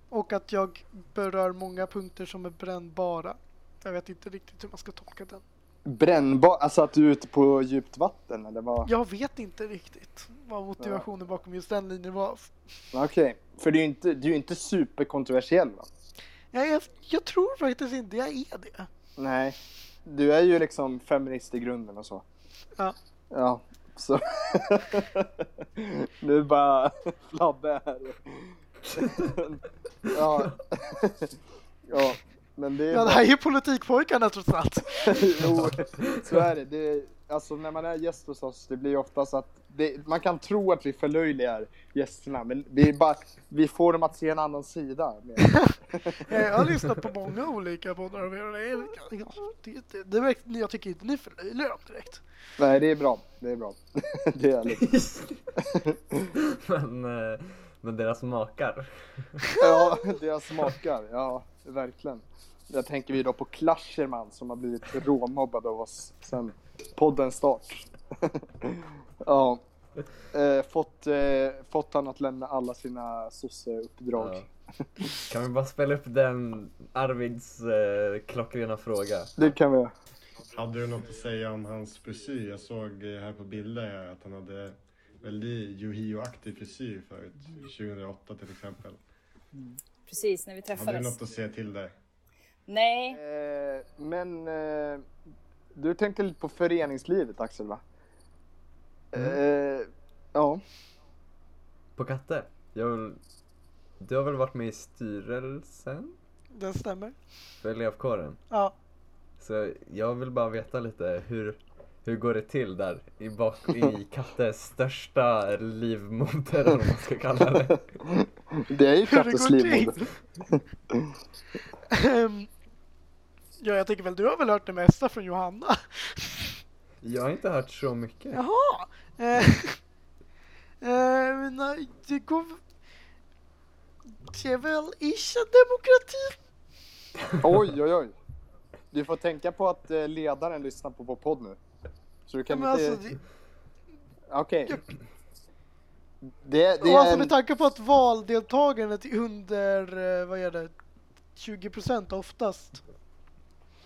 Speaker 3: Och att jag berör många punkter som är brännbara. Jag vet inte riktigt hur man ska tolka den.
Speaker 1: Brännbar, alltså att du är ute på djupt vatten eller vad?
Speaker 3: Jag vet inte riktigt vad motivationen bakom just den linjen var.
Speaker 1: Okej, för du är ju inte, du är ju inte superkontroversiell va?
Speaker 3: Jag, är, jag tror faktiskt inte jag är det.
Speaker 1: Nej, du är ju liksom feminist i grunden och så.
Speaker 3: Ja.
Speaker 1: Ja, så. [laughs] nu är bara Flabbe här. [laughs] ja. [laughs] ja, men det är...
Speaker 3: Ja, det här är ju politikpojkarna trots allt.
Speaker 1: [laughs] jo, så är det. det alltså när man är gäst hos oss, det blir ofta så att det, man kan tro att vi förlöjligar gästerna, men vi, är bara, vi får dem att se en annan sida.
Speaker 3: Eh, Jag har lyssnat på många olika poddar av er och det är, ja, det, det, det, verk- jag tycker inte ni förlöjligar dem direkt.
Speaker 1: Nej, det är bra. Det är bra. [laughs] det är ärligt.
Speaker 2: [laughs] men, eh, men deras makar.
Speaker 1: Ja, deras smakar. Ja, verkligen. Där tänker vi då på Clasherman som har blivit råmobbad av oss sen podden start. [laughs] ja. Eh, fått, eh, fått han att lämna alla sina sosseuppdrag.
Speaker 2: Ja. Kan vi bara spela upp den Arvids eh, klockrena fråga?
Speaker 1: Det kan vi göra.
Speaker 4: Hade du något att säga om hans frisyr? Jag såg eh, här på bilder här att han hade väldigt Yohio-aktig frisyr förut. 2008 till exempel.
Speaker 5: Precis, när vi
Speaker 4: Hade du
Speaker 5: träffades.
Speaker 4: något att säga till där?
Speaker 5: Nej,
Speaker 1: Eh, men eh, du tänker lite på föreningslivet Axel va? Eh, ja,
Speaker 2: På katter? Jag vill... Du har väl varit med i styrelsen
Speaker 3: Den stämmer.
Speaker 2: för elevkåren?
Speaker 3: Ja.
Speaker 2: Så jag vill bara veta lite hur, hur går det till där i, bak, i Kattes största livmoder eller vad man ska kalla det.
Speaker 1: det är ju
Speaker 3: Hur det
Speaker 1: Kattes
Speaker 3: går
Speaker 1: livmoder.
Speaker 3: Ehm, ja, jag tänker väl du har väl hört det mesta från Johanna?
Speaker 2: Jag har inte hört så mycket.
Speaker 3: Jaha! Eh, eh, men, nej, det går... Det är väl ish en demokrati?
Speaker 1: [laughs] Oj, oj, oj. Du får tänka på att eh, ledaren lyssnar på vår podd nu. Så du kan
Speaker 3: Men
Speaker 1: inte...
Speaker 3: alltså, det,
Speaker 1: Okej. Det, det
Speaker 3: och
Speaker 1: är
Speaker 3: alltså
Speaker 1: en...
Speaker 3: med tanke på att valdeltagandet är under, eh, vad är det, 20% oftast.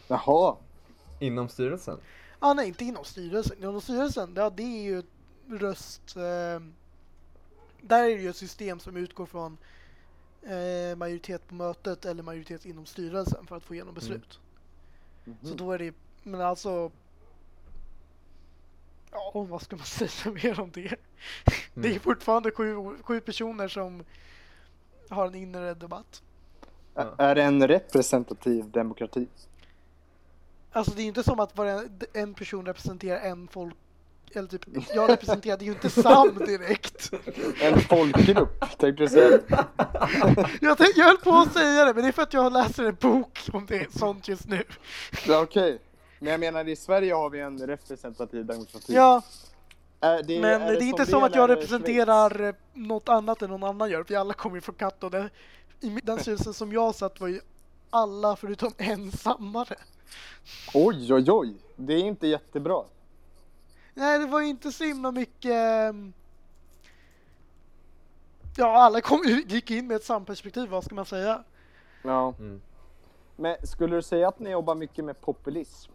Speaker 1: Jaha.
Speaker 2: Inom styrelsen?
Speaker 3: Ah, nej, inte inom styrelsen. Inom styrelsen, ja det är ju röst... Eh, där är det ju ett system som utgår från eh, majoritet på mötet eller majoritet inom styrelsen för att få igenom beslut. Så då är det men alltså... Ja, vad ska man [laughs] säga mer om det? Det är fortfarande sju, sju personer som har en inre debatt.
Speaker 1: Ä- Är det en representativ demokrati?
Speaker 3: Alltså det är ju inte som att bara en person representerar en folk... Eller typ, jag representerar, det är ju inte SAM direkt.
Speaker 1: En folkgrupp, tänkte du
Speaker 3: [laughs]
Speaker 1: säga.
Speaker 3: Jag, tänkte, jag höll på att säga det, men det är för att jag läser en bok om det är sånt just nu.
Speaker 1: Ja, Okej. Men jag menar, i Sverige har vi en representativ demokrati.
Speaker 3: Ja,
Speaker 1: Är det,
Speaker 3: men det är inte som att jag
Speaker 1: eller Schweiz?
Speaker 3: representerar eh, något annat än någon annan gör, vi alla kommer ju från katt och det, i mi- den styrelsen som jag satt var ju alla förutom ensammare.
Speaker 1: Oj, oj, oj. Det är inte jättebra.
Speaker 3: Nej, det var ju inte så himla mycket... ehm, Ja, alla kom, gick in med ett samperspektiv, vad ska man säga?
Speaker 1: Ja.
Speaker 2: Mm.
Speaker 1: Men skulle du säga att ni jobbar mycket med populism?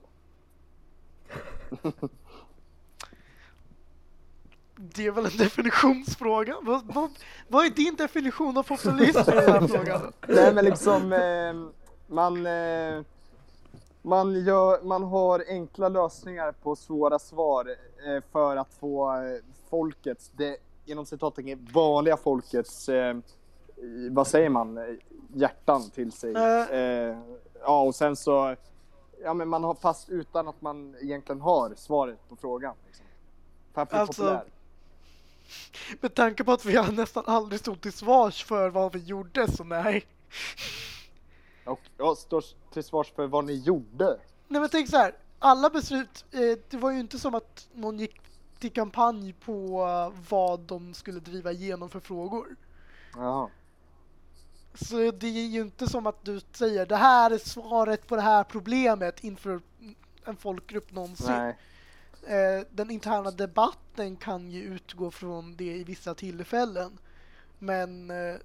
Speaker 3: Det är väl en definitionsfråga? Vad, vad, vad är din definition av populism i den här frågan?
Speaker 1: Nej men liksom, eh, man, eh, man, gör, man har enkla lösningar på svåra svar eh, för att få eh, folkets, det inom citattecken vanliga folkets, eh, i- vad säger man, eh, hjärtan till sig.
Speaker 3: Äh.
Speaker 1: Eh, ja och sen så, ja men man har fast utan att man egentligen har svaret på frågan. Liksom. För att bli
Speaker 3: Alltså,
Speaker 1: populär.
Speaker 3: Med tanke på att vi har nästan aldrig stod till svars för vad vi gjorde, så nej.
Speaker 1: Och jag står till svars för vad ni gjorde.
Speaker 3: Nej men tänk så här, alla beslut, eh, det var ju inte som att någon gick till kampanj på eh, vad de skulle driva igenom för frågor.
Speaker 1: Jaha.
Speaker 3: Så det är ju inte som att du säger det här är svaret på det här problemet inför en folkgrupp någonsin.
Speaker 1: Nej.
Speaker 3: Eh, den interna debatten kan ju utgå från det i vissa tillfällen. Men eh,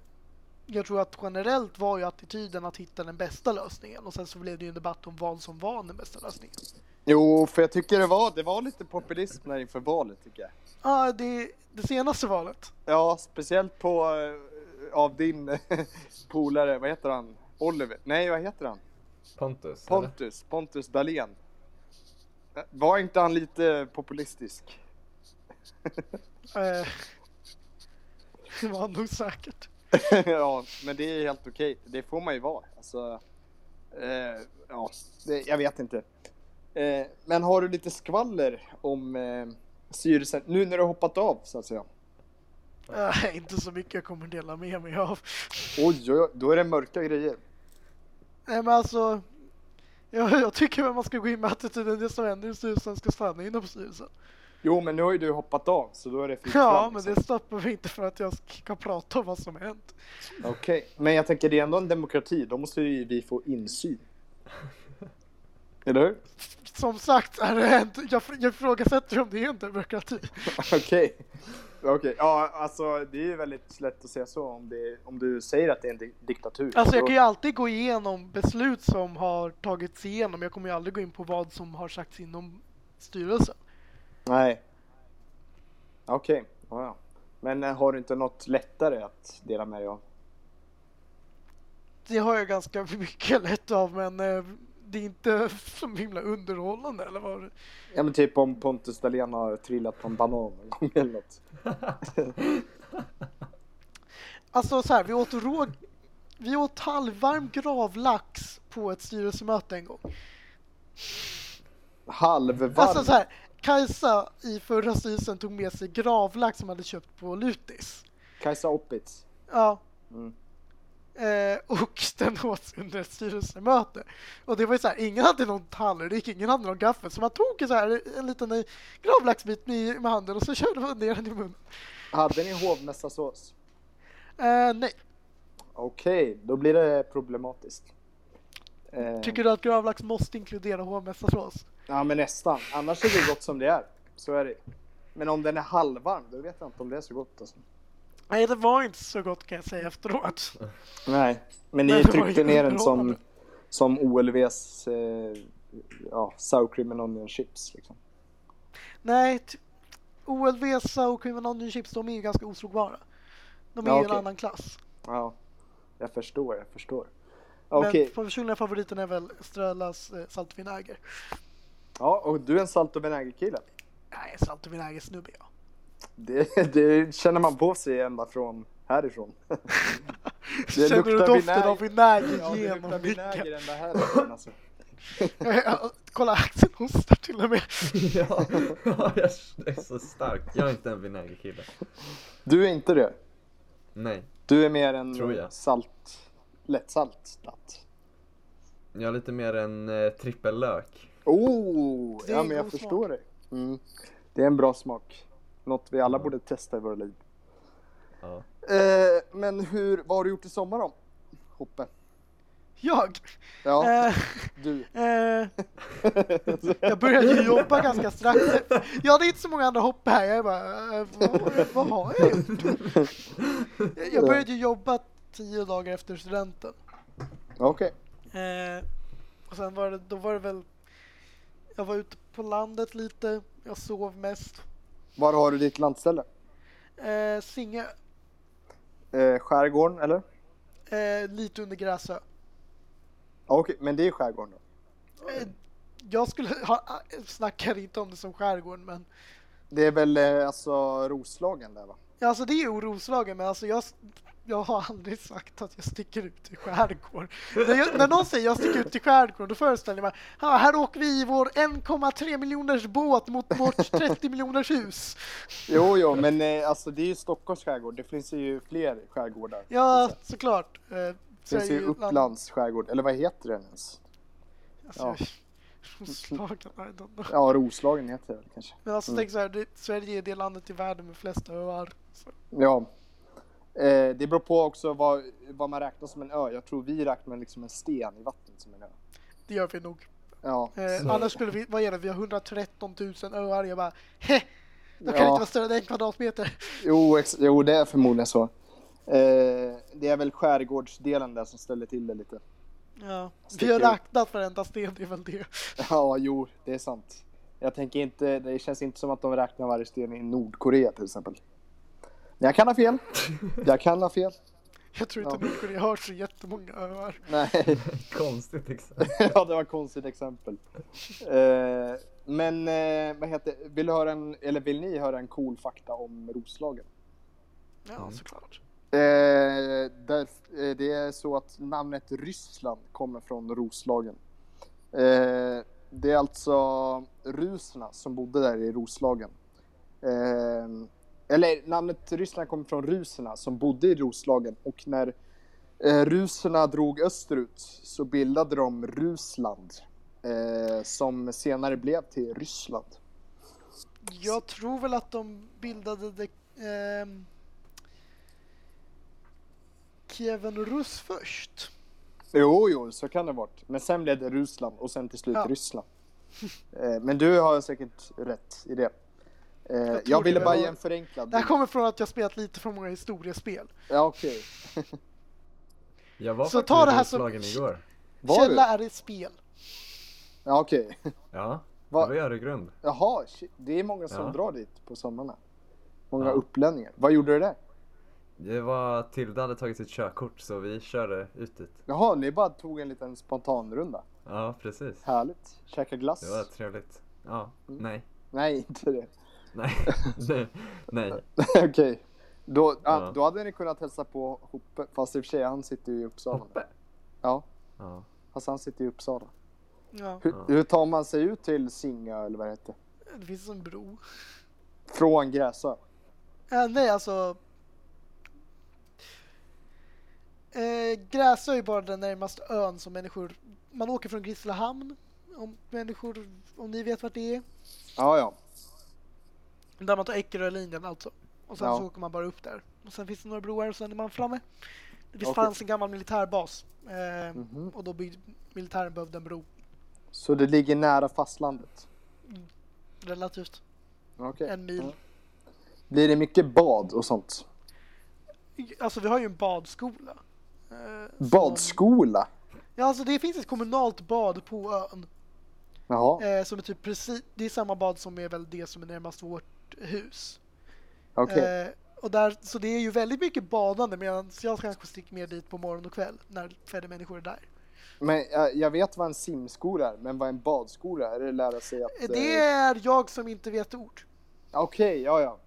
Speaker 3: jag tror att generellt var ju attityden att hitta den bästa lösningen och sen så blev det ju en debatt om vad som var den bästa lösningen.
Speaker 1: Jo, för jag tycker det var, det var lite populism där inför valet tycker jag.
Speaker 3: Ja, det, det senaste valet.
Speaker 1: Ja, speciellt på eh, av din [laughs] polare, vad heter han? Oliver? Nej, vad heter han?
Speaker 2: Pontus? eller?
Speaker 1: Pontus, Pontus Dahlén. Eh, Var inte han lite populistisk? [laughs]
Speaker 3: Eh, [laughs] det var nog säkert.
Speaker 1: ja, men det är helt okej. Det får man ju vara. Alltså, eh, ja, det, jag vet inte. Eh, men har du lite skvaller om eh, styrelsen? Nu när du har hoppat av, så att säga.
Speaker 3: Eh, inte så mycket jag kommer dela med mig av.
Speaker 1: Oj, oj, oj, då är det mörka grejer.
Speaker 3: Nej men alltså, jag, jag tycker väl man ska gå in med attityden det som händer i styrelsen ska stanna inom styrelsen.
Speaker 1: Jo, men nu har ju du hoppat av, så då är det fritt
Speaker 3: Ja,
Speaker 1: fram,
Speaker 3: men
Speaker 1: liksom.
Speaker 3: det stoppar mig inte för att jag ska prata om vad som har hänt.
Speaker 1: Okej, men jag tänker det är ändå en demokrati. Då måste ju vi få
Speaker 3: [laughs]
Speaker 1: insyn. Eller hur? [laughs]
Speaker 3: Som sagt, är det en, jag, jag ifrågasätter om det är en demokrati.
Speaker 1: Okej. Okej, ja alltså det är ju väldigt lätt att säga så om, det, om du säger att det är en di- diktatur.
Speaker 3: Alltså jag
Speaker 1: Då-
Speaker 3: kan ju alltid gå igenom beslut som har tagits igenom. Jag kommer ju aldrig gå in på vad som har sagts inom styrelsen.
Speaker 1: Nej. Okej, ja, ja. Men eh, har du inte något lättare att dela med dig av?
Speaker 3: Det har jag ganska [laughs] mycket lätt av men eh, det är inte [laughs] så himla underhållande eller vad det-
Speaker 1: Ja men typ om Pontus Dahlén har trillat på en banan någon gång eller något.
Speaker 3: Alltså så här, vi åt rå... Vi åt halvvarm gravlax på ett styrelsemöte en gång.
Speaker 1: Halvvarm.
Speaker 3: Alltså så här, Kajsa i förra styrelsen tog med sig gravlax som hon hade köpt på Lutis.
Speaker 1: Kajsa Oppitz.
Speaker 3: Ja.
Speaker 1: Mm.
Speaker 3: Eh, och den åts under ett styrelsemöte. Och det var ju så här, ingen hade någon tallrik, ingen hade någon gaffel. Så man tog så här en liten eh, gravlaxbit med, med handen och så körde man ner den i munnen.
Speaker 1: Hade ni hovmästarsås?
Speaker 3: Eh, nej,
Speaker 1: Okej, då blir det problematiskt. Eh,
Speaker 3: tycker du att gravlax måste inkludera hovmästarsås?
Speaker 1: Ja men nästan. Annars är det gott som det är. Så är det Men om den är halvvarm, då vet jag inte om det är så gott alltså.
Speaker 3: Nej, det var inte så gott kan jag säga efteråt.
Speaker 1: Nej. Men
Speaker 3: Men
Speaker 1: ni
Speaker 3: det var
Speaker 1: tryckte
Speaker 3: ju
Speaker 1: ner den som,
Speaker 3: underhållande.
Speaker 1: som OLVs eh, ja, sour cream and onion chips. Liksom.
Speaker 3: Nej, t- OLV, och Cream Onion Chips, de är ju ganska oslagbara. De är
Speaker 1: Ja,
Speaker 3: ju
Speaker 1: okej.
Speaker 3: en annan klass.
Speaker 1: Ja, jag förstår, jag förstår.
Speaker 3: Men
Speaker 1: Okej,
Speaker 3: personliga favoriten är väl Strölas eh, salt och vinäger.
Speaker 1: ja, och du är en salt och vinägerkille.
Speaker 3: Nej, salt och vinäger snubbe jag.
Speaker 1: Det, det känner man på sig ända från härifrån.
Speaker 3: Känner du
Speaker 1: luktar
Speaker 3: doften
Speaker 1: vinäger.
Speaker 3: av
Speaker 1: Ja,
Speaker 3: vinäger
Speaker 1: det luktar
Speaker 3: genom
Speaker 1: vinäger
Speaker 3: micken?
Speaker 1: ända härifrån alltså.
Speaker 3: [laughs] Ja, Kolla, Axel hostar till och med.
Speaker 2: [laughs] ja, ja, jag det är så starkt. Jag är inte en vinägerkille.
Speaker 1: Du är inte det?
Speaker 2: Nej,
Speaker 1: Du är mer en
Speaker 2: Tror jag.
Speaker 1: salt, lättsaltat.
Speaker 2: jag är lite mer en eh, trippellök. [laughs]
Speaker 1: Oh,
Speaker 3: Det är
Speaker 1: ja
Speaker 3: en
Speaker 1: men jag
Speaker 3: god
Speaker 1: förstår dig. Mm. Det är en bra smak. Något vi alla borde testa i våra liv.
Speaker 2: Ja.
Speaker 1: Eh, men hur, vad har du gjort i sommar då? Hoppe.
Speaker 3: Jag?
Speaker 1: Ja,
Speaker 3: Eh,
Speaker 1: du.
Speaker 3: eh, jag började ju jobba ganska strax. Ja, det är inte så många andra hopp här. Jag är bara, eh, vad, vad har jag gjort? Jag- Jag började ju jobba tio dagar efter studenten.
Speaker 1: Okej.
Speaker 3: Eh, och sen var det, då var det väl, jag var ute på landet lite. Jag sov mest.
Speaker 1: Var har du ditt landställe?
Speaker 3: Eh, Singö,
Speaker 1: Eh, skärgården eller?
Speaker 3: eh, lite under Gräsö.
Speaker 1: Ja, Okej, men det är skärgården då.
Speaker 3: Eh, Jag skulle ha, snackar inte om det som skärgården men
Speaker 1: Det är väl eh, alltså Roslagen där va?
Speaker 3: Ja, Alltså det är Roslagen men alltså jag, jag har aldrig sagt att jag sticker ut i skärgården. När, jag, när någon säger jag sticker ut i skärgården då föreställer jag mig "Ah, här åker vi i vår 1,3 miljoners båt
Speaker 1: [laughs]
Speaker 3: mot vårt 30 miljoners hus.
Speaker 1: Jo, jo, men eh, alltså det är ju Stockholms skärgård. Det finns ju fler skärgårdar.
Speaker 3: Ja såklart. Eh,
Speaker 1: Det finns
Speaker 3: Sverige,
Speaker 1: ju Upplands skärgård, eller vad heter den ens?
Speaker 3: Alltså, Roslagen, I don't know.
Speaker 1: Mm. Ja, Roslagen heter det väl kanske.
Speaker 3: Men alltså
Speaker 1: Mm.
Speaker 3: tänk så här, det, Sverige är det landet i världen med flest öar. Så,
Speaker 1: Ja. Eh, det beror på också vad, vad man räknar som en ö. Jag tror vi räknar liksom en sten i vattnet som en ö.
Speaker 3: Det gör vi nog.
Speaker 1: Ja.
Speaker 3: Eh,
Speaker 2: Så-
Speaker 3: annars skulle vi, vad är det, vi har 113 000 öar. Jag bara, heh, de kan
Speaker 1: Ja.
Speaker 3: inte vara större än en kvadratmeter.
Speaker 1: Jo, ex- jo, det är förmodligen så. Eh, det är väl skärgårdsdelen där som ställer till det lite. [laughs]
Speaker 3: Ja. Vi
Speaker 1: Sticker
Speaker 3: har
Speaker 1: ut.
Speaker 3: räknat varenda sten, det är väl det.
Speaker 1: Ja, jo, det är sant. Jag tänker inte, det känns inte som att de räknar varje sten i Nordkorea till exempel. Men jag kan ha fel. Jag kan ha fel.
Speaker 3: Jag tror inte
Speaker 1: Ja.
Speaker 3: Nordkorea har så jättemånga öar.
Speaker 1: Nej,
Speaker 2: Konstigt exempel.
Speaker 1: [laughs] ja, det var ett konstigt exempel. Eh, men eh, vad heter vill, du höra en, eller vill ni höra en cool fakta om Roslagen?
Speaker 3: Ja,
Speaker 2: Mm.
Speaker 3: såklart.
Speaker 1: Eh, där, eh, det är så att namnet Ryssland kommer från Roslagen. Eh, det är alltså ruserna som bodde där i Roslagen. Eh, eller namnet Ryssland kommer från ruserna som bodde i Roslagen och när eh, ruserna drog österut så bildade de Rusland eh, som senare blev till Ryssland.
Speaker 3: Jag tror väl att de bildade det... ehm, Kievan Rus först.
Speaker 1: Jo, jo, så kan det ha varit. Men sen blev det Ryssland och sen till slut
Speaker 3: Ja.
Speaker 1: Ryssland. Eh, Men du har säkert rätt i det. Eh, Jag,
Speaker 3: tror
Speaker 1: ville
Speaker 3: det.
Speaker 1: bara ge en förenklad
Speaker 3: Det här
Speaker 1: bild.
Speaker 3: kommer från att jag spelat lite för många historiespel.
Speaker 1: Ja, okej.
Speaker 2: Jag var
Speaker 3: Så
Speaker 2: faktiskt
Speaker 3: ta
Speaker 2: i
Speaker 3: det här som-
Speaker 2: Roslagen igår.
Speaker 1: Var
Speaker 3: Källa
Speaker 1: du?
Speaker 3: är ett spel.
Speaker 1: Ja, okej.
Speaker 2: Ja,
Speaker 1: Va-
Speaker 2: det var i Öregrund.
Speaker 1: Jaha, shit. det är många som
Speaker 2: Ja.
Speaker 1: drar dit på sommarna. Många
Speaker 2: Ja.
Speaker 1: upplänningar. Vad gjorde du där?
Speaker 2: Det var Tilda hade tagit sitt körkort så vi körde ut dit.
Speaker 1: Jaha, ni bara tog en liten spontanrunda.
Speaker 2: Ja, precis.
Speaker 1: Härligt. Käka glass?
Speaker 2: Det var trevligt. Ja,
Speaker 3: Mm.
Speaker 2: nej.
Speaker 1: Nej, inte det. [laughs]
Speaker 2: Nej, [laughs] nej, nej.
Speaker 1: okej. Då, ja.
Speaker 2: Ja.
Speaker 1: då hade ni kunnat hälsa på Hoppe, fast i och för sig, han sitter ju i
Speaker 2: [laughs]
Speaker 1: Uppsala.
Speaker 2: Hoppe.
Speaker 1: Ja,
Speaker 2: Ja.
Speaker 1: fast han sitter ju i Uppsala.
Speaker 3: Ja,
Speaker 1: Hur,
Speaker 2: Ja.
Speaker 1: hur tar man sig ut till Singö eller vad det heter?
Speaker 3: det finns en bro.
Speaker 1: Från Gräsö?
Speaker 3: Äh, nej, alltså... Eh, Gräsö är ju bara den närmaste ön som människor... Man åker från Grisslehamn, om människor... Om ni vet vart det är.
Speaker 1: Ja, ja.
Speaker 3: Där man tar Eckerö-linjen alltså. Och sen
Speaker 1: Ja.
Speaker 3: så åker man bara upp där. Och sen finns det några broar och sen är man framme. Det
Speaker 1: Okej.
Speaker 3: fanns en gammal militärbas. Eh,
Speaker 1: Mhm.
Speaker 3: Och då byggde militären behövde en bro.
Speaker 1: Så det ligger nära fastlandet?
Speaker 3: Relativt.
Speaker 1: Okej.
Speaker 3: En mil.
Speaker 1: Blir det mycket bad och sånt?
Speaker 3: Alltså vi har ju en badskola. Eh, som-
Speaker 1: Badskola?
Speaker 3: Ja, alltså det finns ett kommunalt bad på ön.
Speaker 1: Jaha,
Speaker 3: Eh, som är typ precis, det är samma bad som är väl det som är närmast vårt hus.
Speaker 1: okej.
Speaker 3: Eh, och där, så det är ju väldigt mycket badande medan jag kanske sticker mer dit på morgon och kväll när färre människor är där.
Speaker 1: Men jag, jag vet vad en simskola är, men vad en badskola är? Är det lära sig att...
Speaker 3: Eh,
Speaker 1: eh,
Speaker 3: Det är jag som inte vet ord.
Speaker 1: Okej, ja, ja.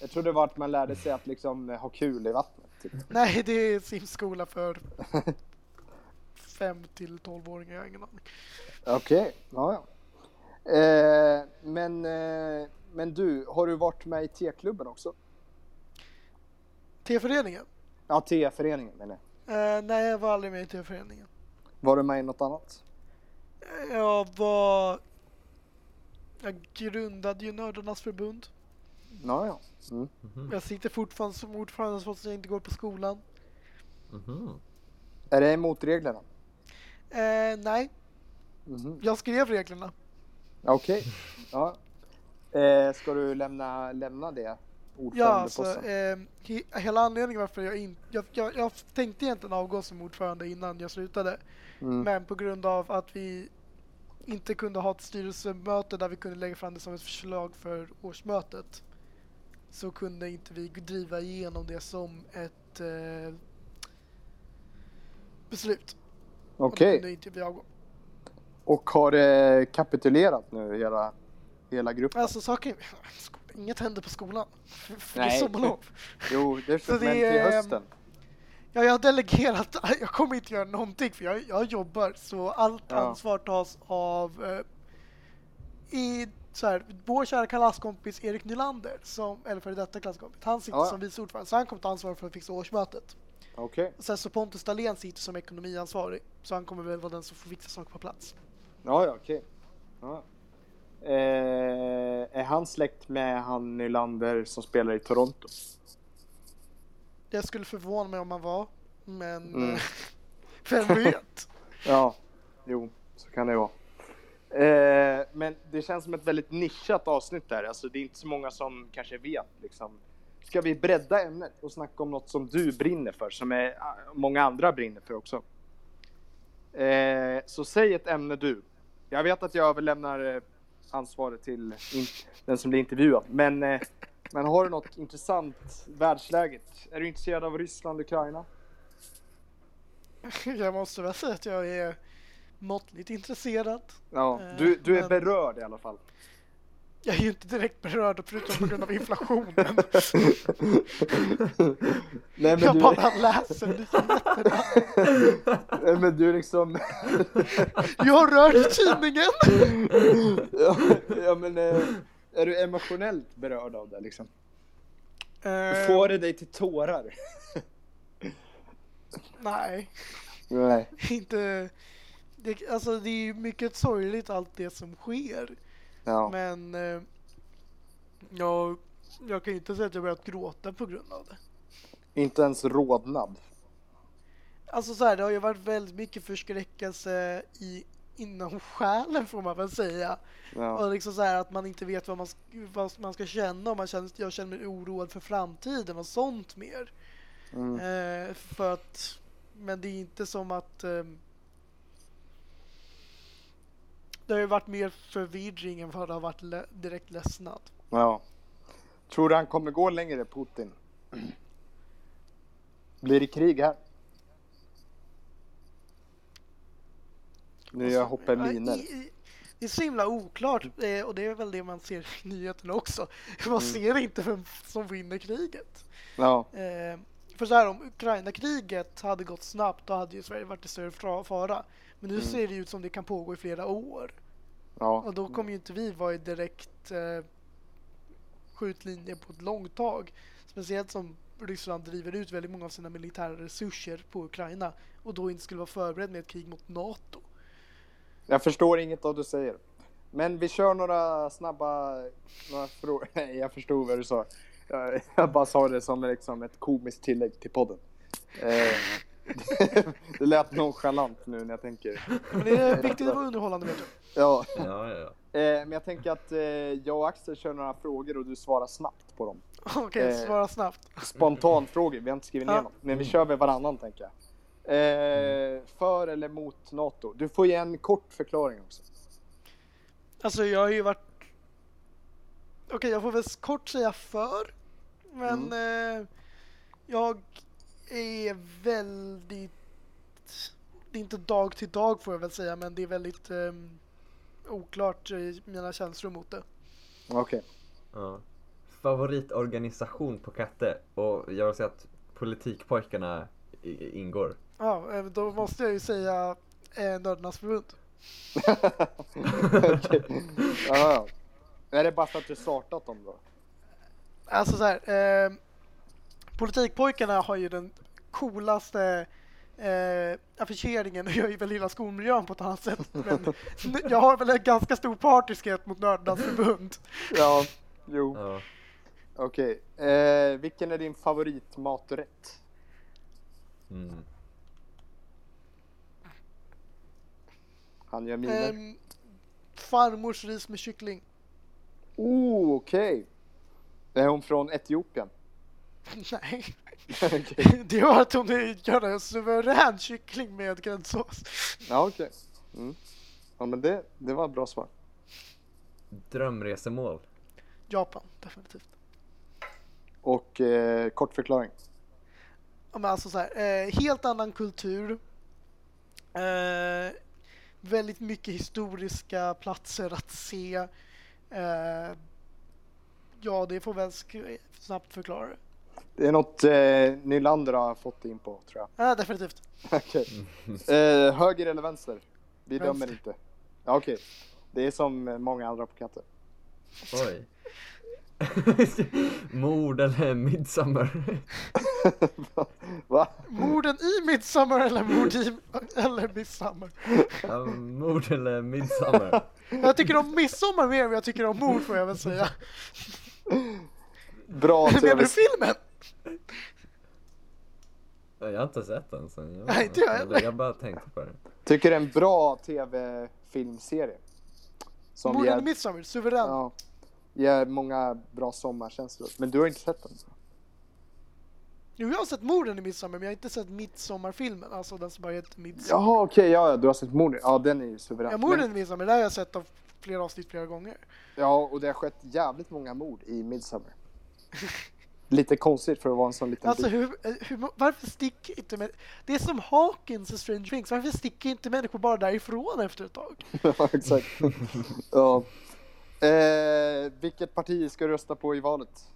Speaker 1: Jag trodde det var att man lärde sig att liksom eh, ha kul i vattnet. Typ.
Speaker 3: Nej, [laughs] det är simskola för [laughs] 5 till 12-åringar, jag har ingen aning.
Speaker 1: Okej, ja, ja. Eh, men, eh, men du, har du varit med i T-klubben också?
Speaker 3: T-föreningen?
Speaker 1: Ja, T-föreningen menar jag.
Speaker 3: Eh, nej, jag var aldrig med i T-föreningen.
Speaker 1: Var du med i något annat?
Speaker 3: Eh, Jag var... Jag grundade ju Nördarnas förbund.
Speaker 1: Ja, ja. Mm.
Speaker 3: Jag sitter fortfarande som ordförande trots att jag inte går på skolan.
Speaker 2: Mhm.
Speaker 1: Är det emot reglerna?
Speaker 3: Eh, nej,
Speaker 1: Mhm.
Speaker 3: jag skrev reglerna.
Speaker 1: Okej. Ja. Eh, ska du lämna, lämna det
Speaker 3: Ja,
Speaker 1: ordförandeposten?
Speaker 3: alltså, eh, he, hela anledningen varför jag inte... Jag, jag, jag tänkte egentligen avgå som ordförande innan jag slutade.
Speaker 1: Mm.
Speaker 3: Men på grund av att vi inte kunde ha ett styrelsemöte där vi kunde lägga fram det som ett förslag för årsmötet så kunde inte vi driva igenom det som ett eh, beslut. Och då
Speaker 1: Okej.
Speaker 3: kunde inte vi avgå.
Speaker 1: Och har eh, kapitulerat nu hela, hela gruppen?
Speaker 3: Alltså saken [laughs] inget händer på skolan. [laughs] För för det är
Speaker 1: Nej.
Speaker 3: sommarlov.
Speaker 1: Jo, det är
Speaker 3: så
Speaker 1: så,
Speaker 3: det
Speaker 1: men till
Speaker 3: är, ehm,
Speaker 1: hösten.
Speaker 3: Ja, jag har delegerat, [laughs] jag kommer inte göra någonting för jag, jag jobbar så allt
Speaker 1: Ja.
Speaker 3: ansvar tas av eh, i, så här, vår kära klasskompis Erik Nylander, som, eller före detta klasskompis, han sitter
Speaker 1: Ja, ja.
Speaker 3: som vice ordförande så han kommer ta ansvar för att fixa årsmötet.
Speaker 1: Okej.
Speaker 3: Sen så Pontus Dahlén sitter som ekonomiansvarig så han kommer väl vara den som får fixa saker på plats.
Speaker 1: Ja, ja, okej. Ja. Eh, är han släkt med han Nylander som spelar i Toronto?
Speaker 3: Jag skulle förvåna mig om han var, men eh,
Speaker 1: Mm.
Speaker 3: [laughs] vem vet? [laughs]
Speaker 1: Ja, jo, så kan det vara. Eh, men det känns som ett väldigt nischat avsnitt där. Alltså, det är inte så många som kanske vet liksom, ska vi bredda ämnet och snacka om något som du brinner för, som är, ah, många andra brinner för också. Eh, så säg ett ämne du. Jag vet att jag överlämnar eh, ansvaret till in, den som blir intervjuad, men, eh, men har du något intressant världsläget? Är du intresserad av Ryssland, Ukraina?
Speaker 3: Jag måste väl säga att jag är måttligt intresserad.
Speaker 1: Ja,
Speaker 3: Eh,
Speaker 1: du, du är
Speaker 3: men-
Speaker 1: berörd i alla fall.
Speaker 3: Jag är ju inte direkt berörd förutom på grund
Speaker 1: [laughs]
Speaker 3: av inflationen.
Speaker 1: Nej, men
Speaker 3: Jag
Speaker 1: du,
Speaker 3: bara läser nyheterna.
Speaker 1: nej, men du liksom... [laughs]
Speaker 3: Jag rör tidningen!
Speaker 1: ja, ja, men eh, är du emotionellt berörd av det liksom?
Speaker 3: Eh,
Speaker 1: Får det dig till tårar?
Speaker 3: Nej,
Speaker 1: Nej.
Speaker 3: inte... Det, alltså det är ju mycket sorgligt allt det som sker.
Speaker 1: Ja.
Speaker 3: Men eh, jag, jag kan ju inte säga att jag börjat gråta på grund av det.
Speaker 1: Inte ens rodnad.
Speaker 3: Alltså så här, det har ju varit väldigt mycket förskräckelse i, inom själen får man väl säga.
Speaker 1: Ja.
Speaker 3: Och liksom så här att man inte vet vad man, sk- vad man ska känna och man känner, jag känner mig oroad för framtiden och sånt mer.
Speaker 1: Mm.
Speaker 3: Eh, för att, men det är inte som att ehm, det har ju varit mer förvirring än vad det har varit le- direkt ledsnad.
Speaker 1: ja. Tror du han kommer gå längre, Putin? Blir det krig här? Nu
Speaker 3: Och
Speaker 1: jag
Speaker 3: så-
Speaker 1: hoppar
Speaker 3: ja,
Speaker 1: miner.
Speaker 3: i- i- Det är så himla oklart eh, och det är väl det man ser i nyheterna också. Man
Speaker 1: Mm.
Speaker 3: ser inte vem som vinner kriget.
Speaker 1: Ja.
Speaker 3: Eh, För så här, om Ukraina-kriget hade gått snabbt då hade ju Sverige varit i större fra- fara. Men nu ser det ut som det kan pågå i flera år.
Speaker 1: Ja.
Speaker 3: Och då kommer ju inte vi vara i direkt eh, skjutlinje på ett långt tag. Speciellt som Ryssland driver ut väldigt många av sina militära resurser på Ukraina och då inte skulle vara förberedd med ett krig mot NATO.
Speaker 1: Jag förstår inget av det du säger. Men vi kör några snabba några frågor. [laughs] Nej, jag förstod vad du sa. Jag, jag bara sa det som liksom ett komiskt tillägg till podden. Eh, [laughs] det lät nonchalant nu när jag tänker.
Speaker 3: Men det är viktigt att vara underhållande vet du. [laughs]
Speaker 1: Ja.
Speaker 2: Ja, ja, ja.
Speaker 1: Eh, men jag tänker att eh, jag och Axel kör några frågor och du svarar snabbt på dem.
Speaker 3: Okej,
Speaker 1: Eh,
Speaker 3: svara snabbt.
Speaker 1: Spontanfrågor, vi har inte skrivit ner
Speaker 3: Ja.
Speaker 1: något. Men vi kör med varannan tänker jag. Eh, för eller mot NATO? Du får ge en kort förklaring också.
Speaker 3: Alltså jag har ju varit... Okej, jag får väl kort säga för. Men eh, jag är väldigt... Det är inte dag till dag får jag väl säga, men det är väldigt eh, oklart i mina känslor mot det.
Speaker 1: Okej.
Speaker 2: Ja. Favoritorganisation på Katte? Och jag vill säga att politikpojkarna i- ingår.
Speaker 3: Ja, eh, då måste jag ju säga eh, Nördarnas förbund.
Speaker 1: Okej. ja, ja. Är det bara för att du startat dem då?
Speaker 3: Alltså så här, eh, Politikpojkarna har ju den coolaste eh, affischeringen och jag är väl hela skolmiljön på ett annat sätt. Men n- jag har väl en ganska stor partiskhet mot Nördarnas förbund.
Speaker 1: Ja, jo.
Speaker 2: Ja.
Speaker 1: Okej. Eh, vilken är din favoritmaträtt?
Speaker 2: Mm.
Speaker 1: Han gör miner.
Speaker 3: Eh, farmors ris med kyckling. [laughs]
Speaker 1: oh, okej. Är hon från Etiopien? [laughs]
Speaker 3: Nej,
Speaker 1: Okej.
Speaker 3: det var att hon gör en suverän kyckling med gräddsås.
Speaker 1: Ja, okej. Mm. Ja, men det, det var ett bra svar.
Speaker 2: Drömresemål?
Speaker 3: Japan, definitivt.
Speaker 1: Och eh, kort förklaring.
Speaker 3: Ja, men alltså så här, eh, helt annan kultur. Eh, väldigt mycket historiska platser att se. Eh, ja, det får väl sk- snabbt förklara det.
Speaker 1: Det är något eh, Nylander har fått in på, [laughs] tror jag.
Speaker 3: Ja, definitivt.
Speaker 1: Okej. Eh, höger eller vänster? Vi
Speaker 3: Vänster.
Speaker 1: dömer inte. Ja, okej. Det är som eh, många andra på katter.
Speaker 3: [laughs]
Speaker 2: Oj. Mord eller midsommar?
Speaker 1: [laughs] Va?
Speaker 3: Morden i Midsommar eller mord i [laughs] eller Midsommar.
Speaker 2: Ja, mord eller midsommar?
Speaker 3: Jag tycker om Midsommar mer än vad jag tycker om mord får jag väl säga.
Speaker 1: Bra
Speaker 3: Menar du
Speaker 1: tv
Speaker 3: filmen?
Speaker 2: Jag har inte sett den sen. Jag,
Speaker 3: Nej, inte jag
Speaker 2: eller
Speaker 3: heller.
Speaker 2: Jag bara tänkte på det.
Speaker 1: Tycker det är en bra tv-filmserie. Som
Speaker 3: Morden i
Speaker 1: ger,
Speaker 3: Midsommar, suverän.
Speaker 1: ja, ger många bra sommarkänslor. Men du har inte sett den?
Speaker 3: Nu jag har sett morden i Midsommar men jag har inte sett Midsommarfilmen, alltså den som bara heter Midsommar.
Speaker 1: Jaha okej, ja, ja, du har sett morden. Ja den är ju suverän.
Speaker 3: Ja, morden i Midsommar, där har jag sett av flera avsnitt flera gånger.
Speaker 1: Ja, och det har skett jävligt många mord i Midsummer. [laughs] Lite konstigt för att vara en sån liten
Speaker 3: Alltså
Speaker 1: bit.
Speaker 3: hur, hur, varför sticker inte män- Det är som Hawkins i Strange Things, varför sticker inte människor bara därifrån efter ett tag?
Speaker 1: [laughs] Ja, Exakt. ja. eh, vilket parti ska du rösta på i valet?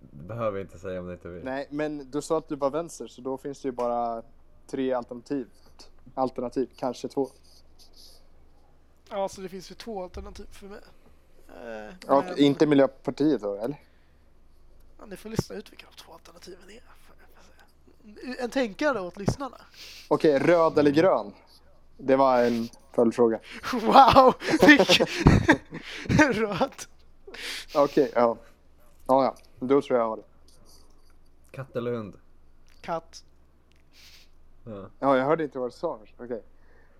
Speaker 2: Det behöver inte säga om du inte vill.
Speaker 1: Nej, men du sa att du var vänster, så då finns det ju bara tre alternativ. Alternativ, kanske två.
Speaker 3: Ja, Alltså det finns ju två alternativ för mig. Eh,
Speaker 1: Ja,
Speaker 3: men-
Speaker 1: inte Miljöpartiet då, eller?
Speaker 3: Ja, ni får lista ut vilka de två alternativen är. En tänkare åt lyssnarna. [laughs]
Speaker 1: Okej, röd eller grön? Det var en följdfråga.
Speaker 3: Wow! vilken- [laughs] Röd.
Speaker 1: Okej, ja. Ja, ja. Då tror jag jag har det.
Speaker 2: Katt eller hund?
Speaker 3: Katt.
Speaker 2: Ja.
Speaker 1: Ja, jag hörde inte vad du sa. Okej.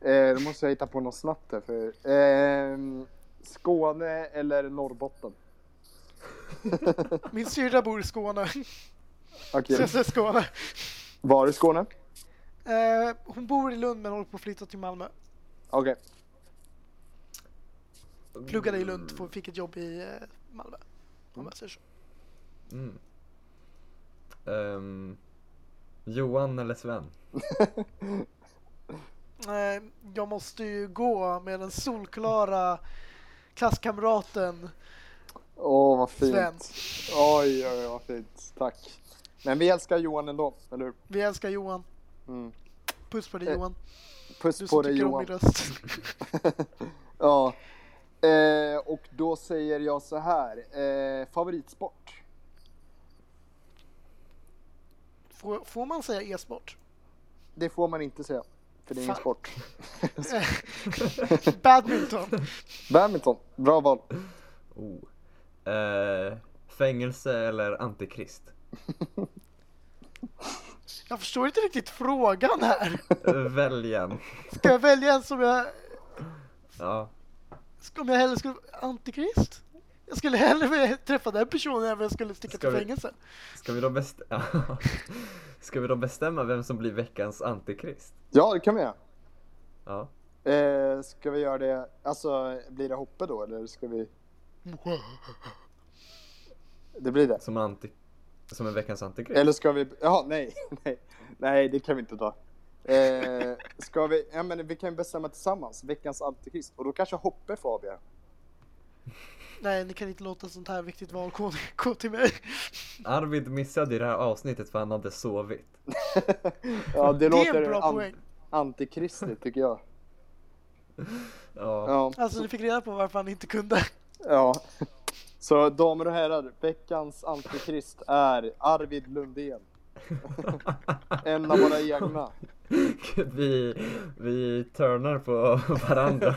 Speaker 1: Eh, då måste jag hitta på något snabbt där. För, ehm, Skåne eller Norrbotten?
Speaker 3: Min syrra bor i Skåne. [laughs] Så
Speaker 1: Okej,
Speaker 3: jag säger Skåne.
Speaker 1: var är Skåne?
Speaker 3: Eh, hon bor i Lund men håller på att flytta till Malmö.
Speaker 1: Okej,
Speaker 3: Pluggade i Lund och fick ett jobb i eh, Malmö. Om jag säger så.
Speaker 2: Mm. Ehm, Johan eller Sven?
Speaker 3: Eh, jag måste ju gå med den solklara klasskamraten
Speaker 1: åh vad fint.
Speaker 3: Sven.
Speaker 1: Oj, oj, oj, vad fint. Tack. Men vi älskar Johan ändå, eller hur?
Speaker 3: Vi älskar Johan.
Speaker 1: Mm.
Speaker 3: Puss på dig
Speaker 1: Eh,
Speaker 3: Johan.
Speaker 1: Puss
Speaker 3: Du
Speaker 1: på
Speaker 3: som
Speaker 1: dig
Speaker 3: tycker om
Speaker 1: Johan. [laughs]
Speaker 3: min röst.
Speaker 1: ja. Eh, och då säger jag så här. Eh, favoritsport?
Speaker 3: Får, får man säga e-sport?
Speaker 1: Det får man inte säga. För det är ingen
Speaker 3: Fan.
Speaker 1: sport. Alltså.
Speaker 3: [laughs] Badminton.
Speaker 1: Badminton. Bra val.
Speaker 2: Oh. Eh, fängelse eller antikrist?
Speaker 3: Jag förstår inte riktigt frågan här.
Speaker 2: Väljen.
Speaker 3: Ska jag välja en som jag...
Speaker 2: Ja.
Speaker 3: ska- Om jag hellre skulle... Antikrist? Jag skulle hellre vilja träffa den personen än om jag skulle sticka
Speaker 2: Ska
Speaker 3: till
Speaker 2: vi-
Speaker 3: fängelse.
Speaker 2: Ska vi, då best- [laughs] Ska vi då bestämma vem som blir veckans antikrist?
Speaker 1: Ja, det kan vi göra.
Speaker 2: Ja.
Speaker 1: Eh, ska vi göra det, alltså blir det Hoppe då eller ska vi? Det blir det.
Speaker 2: Som, anti- som en veckans antikrist?
Speaker 1: Eller ska vi, jaha nej, [laughs] nej, nej det kan vi inte ta. Eh, ska vi, ja men vi kan bestämma tillsammans, veckans antikrist och då kanske Hoppe får avgöra.
Speaker 3: Nej, ni kan inte låta sånt här viktigt val gå, gå till mig.
Speaker 2: Arvid missade ju det här avsnittet för han hade sovit.
Speaker 1: Ja det,
Speaker 3: Det är
Speaker 1: låter
Speaker 3: en bra
Speaker 1: an-
Speaker 3: poäng.
Speaker 1: antikristligt tycker jag.
Speaker 2: Ja.
Speaker 1: Ja,
Speaker 3: Alltså, ni fick reda på varför han inte kunde.
Speaker 1: ja. Så damer och herrar, veckans antikrist är Arvid Lundén. En av våra egna.
Speaker 2: Gud, [laughs] vi, vi turnar på [laughs] varandra.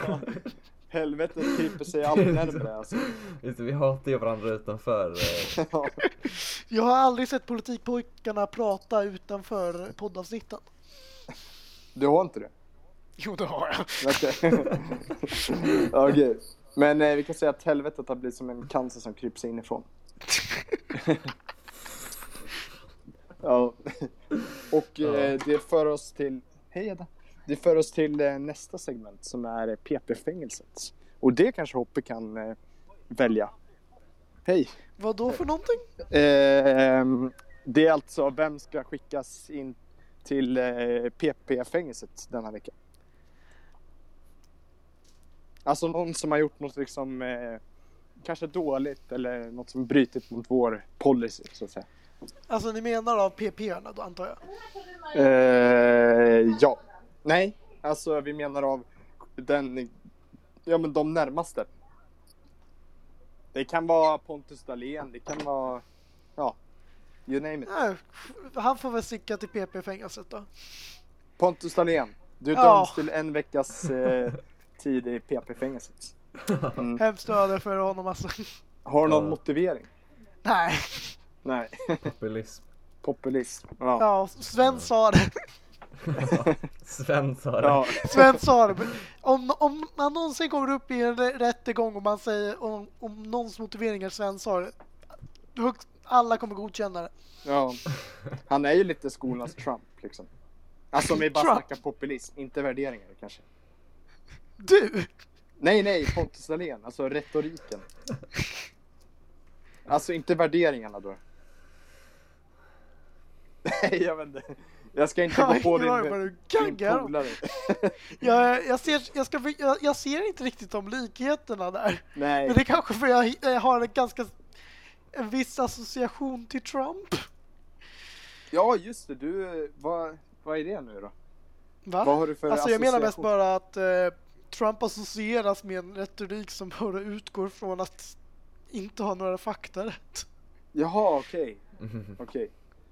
Speaker 1: Helvetet kryper sig allt
Speaker 2: [laughs]
Speaker 1: närmre alltså.
Speaker 2: Visst, vi hatar ju varandra utanför. eh,
Speaker 1: Ja.
Speaker 3: Jag har aldrig sett politikpojkarna prata utanför poddavsnitten.
Speaker 1: Du har inte det?
Speaker 3: Jo, det har jag.
Speaker 1: Okej. Okej. Men eh, vi kan säga att helvetet har blivit som en cancer som kryper sig inifrån. ja. Och eh, det för oss till... Hej Edda. Det för oss till eh, nästa segment som är eh, PP-fängelset. Och det kanske Hoppe kan eh, välja. Hej.
Speaker 3: Vad då för någonting?
Speaker 1: Ehm, det är alltså vem ska skickas in till eh, PP-fängelset denna vecka? Alltså någon som har gjort något liksom eh, kanske dåligt eller något som brutit mot vår policy så att säga.
Speaker 3: Alltså, ni menar av PP-arna då, antar jag?
Speaker 1: Eh, ja. Nej, alltså vi menar av den, ja men de närmaste. Det kan vara Pontus Dahlén, det kan vara, ja, you name it.
Speaker 3: Nej, han får väl sticka till PP-fängelset då.
Speaker 1: Pontus Dahlén, du
Speaker 3: Ja.
Speaker 1: döms till en veckas
Speaker 3: [laughs]
Speaker 1: eh, tid i PP-fängelset.
Speaker 3: Hemskt öde för honom alltså. [laughs]
Speaker 1: Har du någon
Speaker 2: Ja.
Speaker 1: motivering?
Speaker 3: Nej.
Speaker 1: Nej, [laughs]
Speaker 2: Populism.
Speaker 1: populism. Ja.
Speaker 3: Ja, Sven sa det.
Speaker 2: Sven sa det.
Speaker 1: Ja.
Speaker 3: Sven sa det. Om, om man någonsin kommer upp i en rä- rättegång och man säger om, om någons motiveringar Sven sa det. högst- Alla kommer godkänna det.
Speaker 1: Ja. Han är ju lite skolans Trump liksom. Alltså om vi bara
Speaker 3: Trump.
Speaker 1: snackar populism, inte värderingar kanske.
Speaker 3: Du!
Speaker 1: Nej, nej, Pontus Dahlén, alltså retoriken. Alltså inte värderingarna då. [laughs] Nej, jag vet inte. Jag ska inte gå
Speaker 3: Jag
Speaker 1: på
Speaker 3: har ingen aning vad
Speaker 1: din,
Speaker 3: du
Speaker 1: din
Speaker 3: gaggar om.
Speaker 1: polare.
Speaker 3: Jag, jag, ser, jag, ska, jag, jag ser inte riktigt de likheterna där. Men det
Speaker 1: Nej,
Speaker 3: är kanske för jag, jag har en ganska en viss association till Trump.
Speaker 1: ja just det, du, eh, vad, vad är det nu då?
Speaker 3: Va?
Speaker 1: Vad har du för
Speaker 3: Alltså jag menar mest
Speaker 1: association?
Speaker 3: bara att eh, Trump associeras med en retorik som bara utgår från att inte ha några fakta rätt.
Speaker 1: Jaha, okej, okej.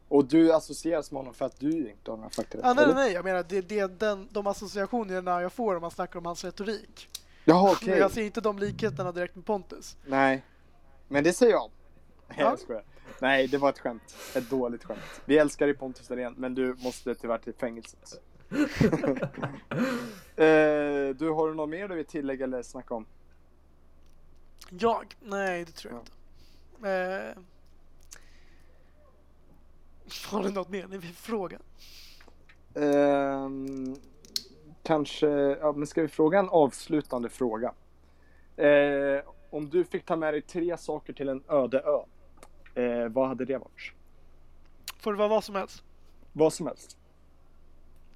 Speaker 1: Och du associeras med honom för att du inte har några fakta
Speaker 3: Ah, nej,
Speaker 1: eller?
Speaker 3: nej, nej, jag menar det det är den, de associationerna jag får om man snackar om hans retorik.
Speaker 1: Jaha,
Speaker 3: Men
Speaker 1: okej.
Speaker 3: jag ser inte de likheterna direkt med Pontus.
Speaker 1: Nej, men det säger [laughs] jag. Nej,
Speaker 3: Ja.
Speaker 1: jag skojar. Nej, det var ett skämt. Ett dåligt skämt. Vi älskar dig Pontus Dahlén, men du måste tyvärr till fängelset. [laughs] eh, du, har du något mer du vill tillägga eller snacka om?
Speaker 3: Jag? Nej, det tror jag inte. Eh, [laughs] har du något mer? Det är min fråga.
Speaker 1: Ehm, kanske, ja, men ska vi fråga en avslutande fråga? Eh, om du fick ta med dig tre saker till en öde ö, eh, vad hade det varit?
Speaker 3: Får det vara vad som helst?
Speaker 1: Vad som helst.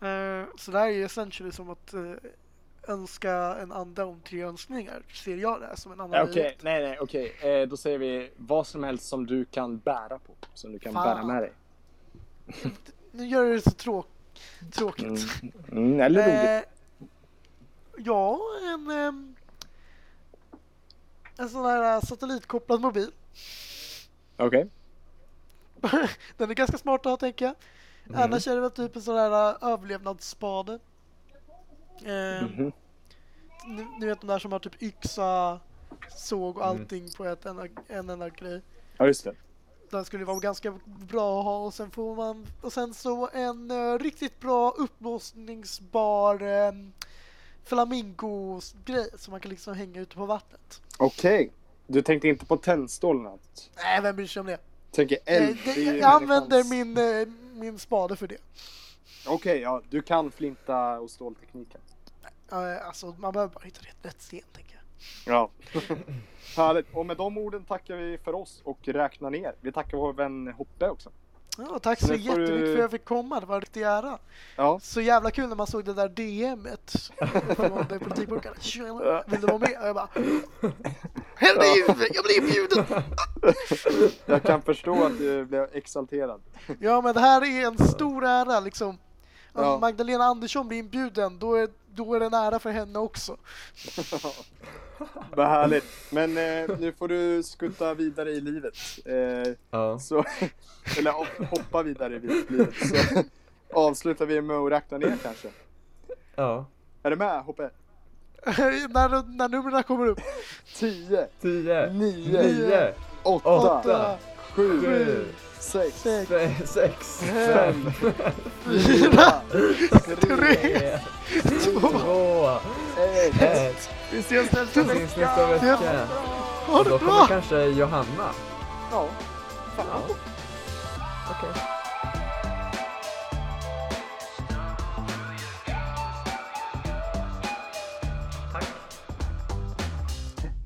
Speaker 3: Eh, så det här är ju essentially som att eh, önska en ande om tre önskningar. Ser jag det här som en annan
Speaker 1: Eh, Okej, nej, nej, okej. Eh, då säger vi vad som helst som du kan bära på, som du kan
Speaker 3: Fan.
Speaker 1: bära med dig.
Speaker 3: Nu gör du det så tråk tråkigt.
Speaker 1: Mm, eller roligt.
Speaker 3: Eh, ja, en, ehm, en sån här eh, satellitkopplad mobil. [laughs]
Speaker 1: Okej.
Speaker 3: Den är ganska smart att ha tänker jag.
Speaker 1: Mhm.
Speaker 3: Annars är det väl typ en sån här eh, överlevnadsspade. Eh,
Speaker 1: Mhm.
Speaker 3: ni, ni vet de där som har typ yxa, såg och
Speaker 1: Mm.
Speaker 3: allting på ett, en, en enda grej.
Speaker 1: Ja, just det.
Speaker 3: Den skulle vara ganska bra att ha och sen får man och sen så en eh, riktigt bra uppblåsningsbar eh, flamingos-grej som man kan liksom hänga ute på vattnet.
Speaker 1: Okej. Du tänkte inte på tändstålen? alltså?
Speaker 3: Nej, vem bryr sig om det?
Speaker 1: Tänker
Speaker 3: Eh,
Speaker 1: eld?
Speaker 3: det-
Speaker 1: det är ju
Speaker 3: jag använder
Speaker 1: människans-
Speaker 3: min, eh, min spade för det.
Speaker 1: Okej, ja. Du kan flinta och ståltekniken.
Speaker 3: Eh, Alltså, man behöver bara hitta rätt, rätt sten, tänker jag.
Speaker 1: Ja. [laughs] Härligt. Och med de orden tackar vi för oss och räknar ner. Vi tackar vår vän Hoppe också.
Speaker 3: Ja, tack så
Speaker 1: Nu får du-
Speaker 3: jättemycket för att jag fick komma, det var en riktig ära.
Speaker 1: Ja.
Speaker 3: Så jävla kul när man såg det där DMet från den politikburkaren. Tjena, Vill du vara med? Och jag bara... Helvete, jag blir inbjuden!
Speaker 1: Jag kan förstå att du blev exalterad.
Speaker 3: Ja, men det här är en stor ära liksom. Om
Speaker 1: Ja.
Speaker 3: Magdalena Andersson blir inbjuden, då är, då är det en ära för henne också. [laughs]
Speaker 1: Vad härligt. Men eh, nu får du skutta vidare i livet. Eh,
Speaker 2: Ja.
Speaker 1: Så, [laughs] eller hop- hoppa vidare i livet. Så avslutar vi med att räkna ner kanske.
Speaker 2: ja.
Speaker 1: Är du med Hoppe?
Speaker 3: när, när numren kommer upp.
Speaker 1: 10,
Speaker 2: Tio.
Speaker 1: Nio.
Speaker 2: Nio.
Speaker 1: 8,
Speaker 2: Åtta. Sju.
Speaker 1: 7, 6,
Speaker 3: sex,
Speaker 2: se- Sex.
Speaker 1: Fem.
Speaker 2: Fem.
Speaker 1: 4, 3,
Speaker 3: tre, två,
Speaker 2: Två.
Speaker 1: 1.
Speaker 2: Ett.
Speaker 1: Vi ses nästa
Speaker 2: Vi syns nästa
Speaker 1: vecka!
Speaker 2: vecka.
Speaker 3: ha det
Speaker 2: Då kommer
Speaker 3: bra!
Speaker 2: kanske Johanna.
Speaker 1: Ja.
Speaker 2: Ja. Okej.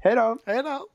Speaker 1: Hej då!
Speaker 3: Hej då!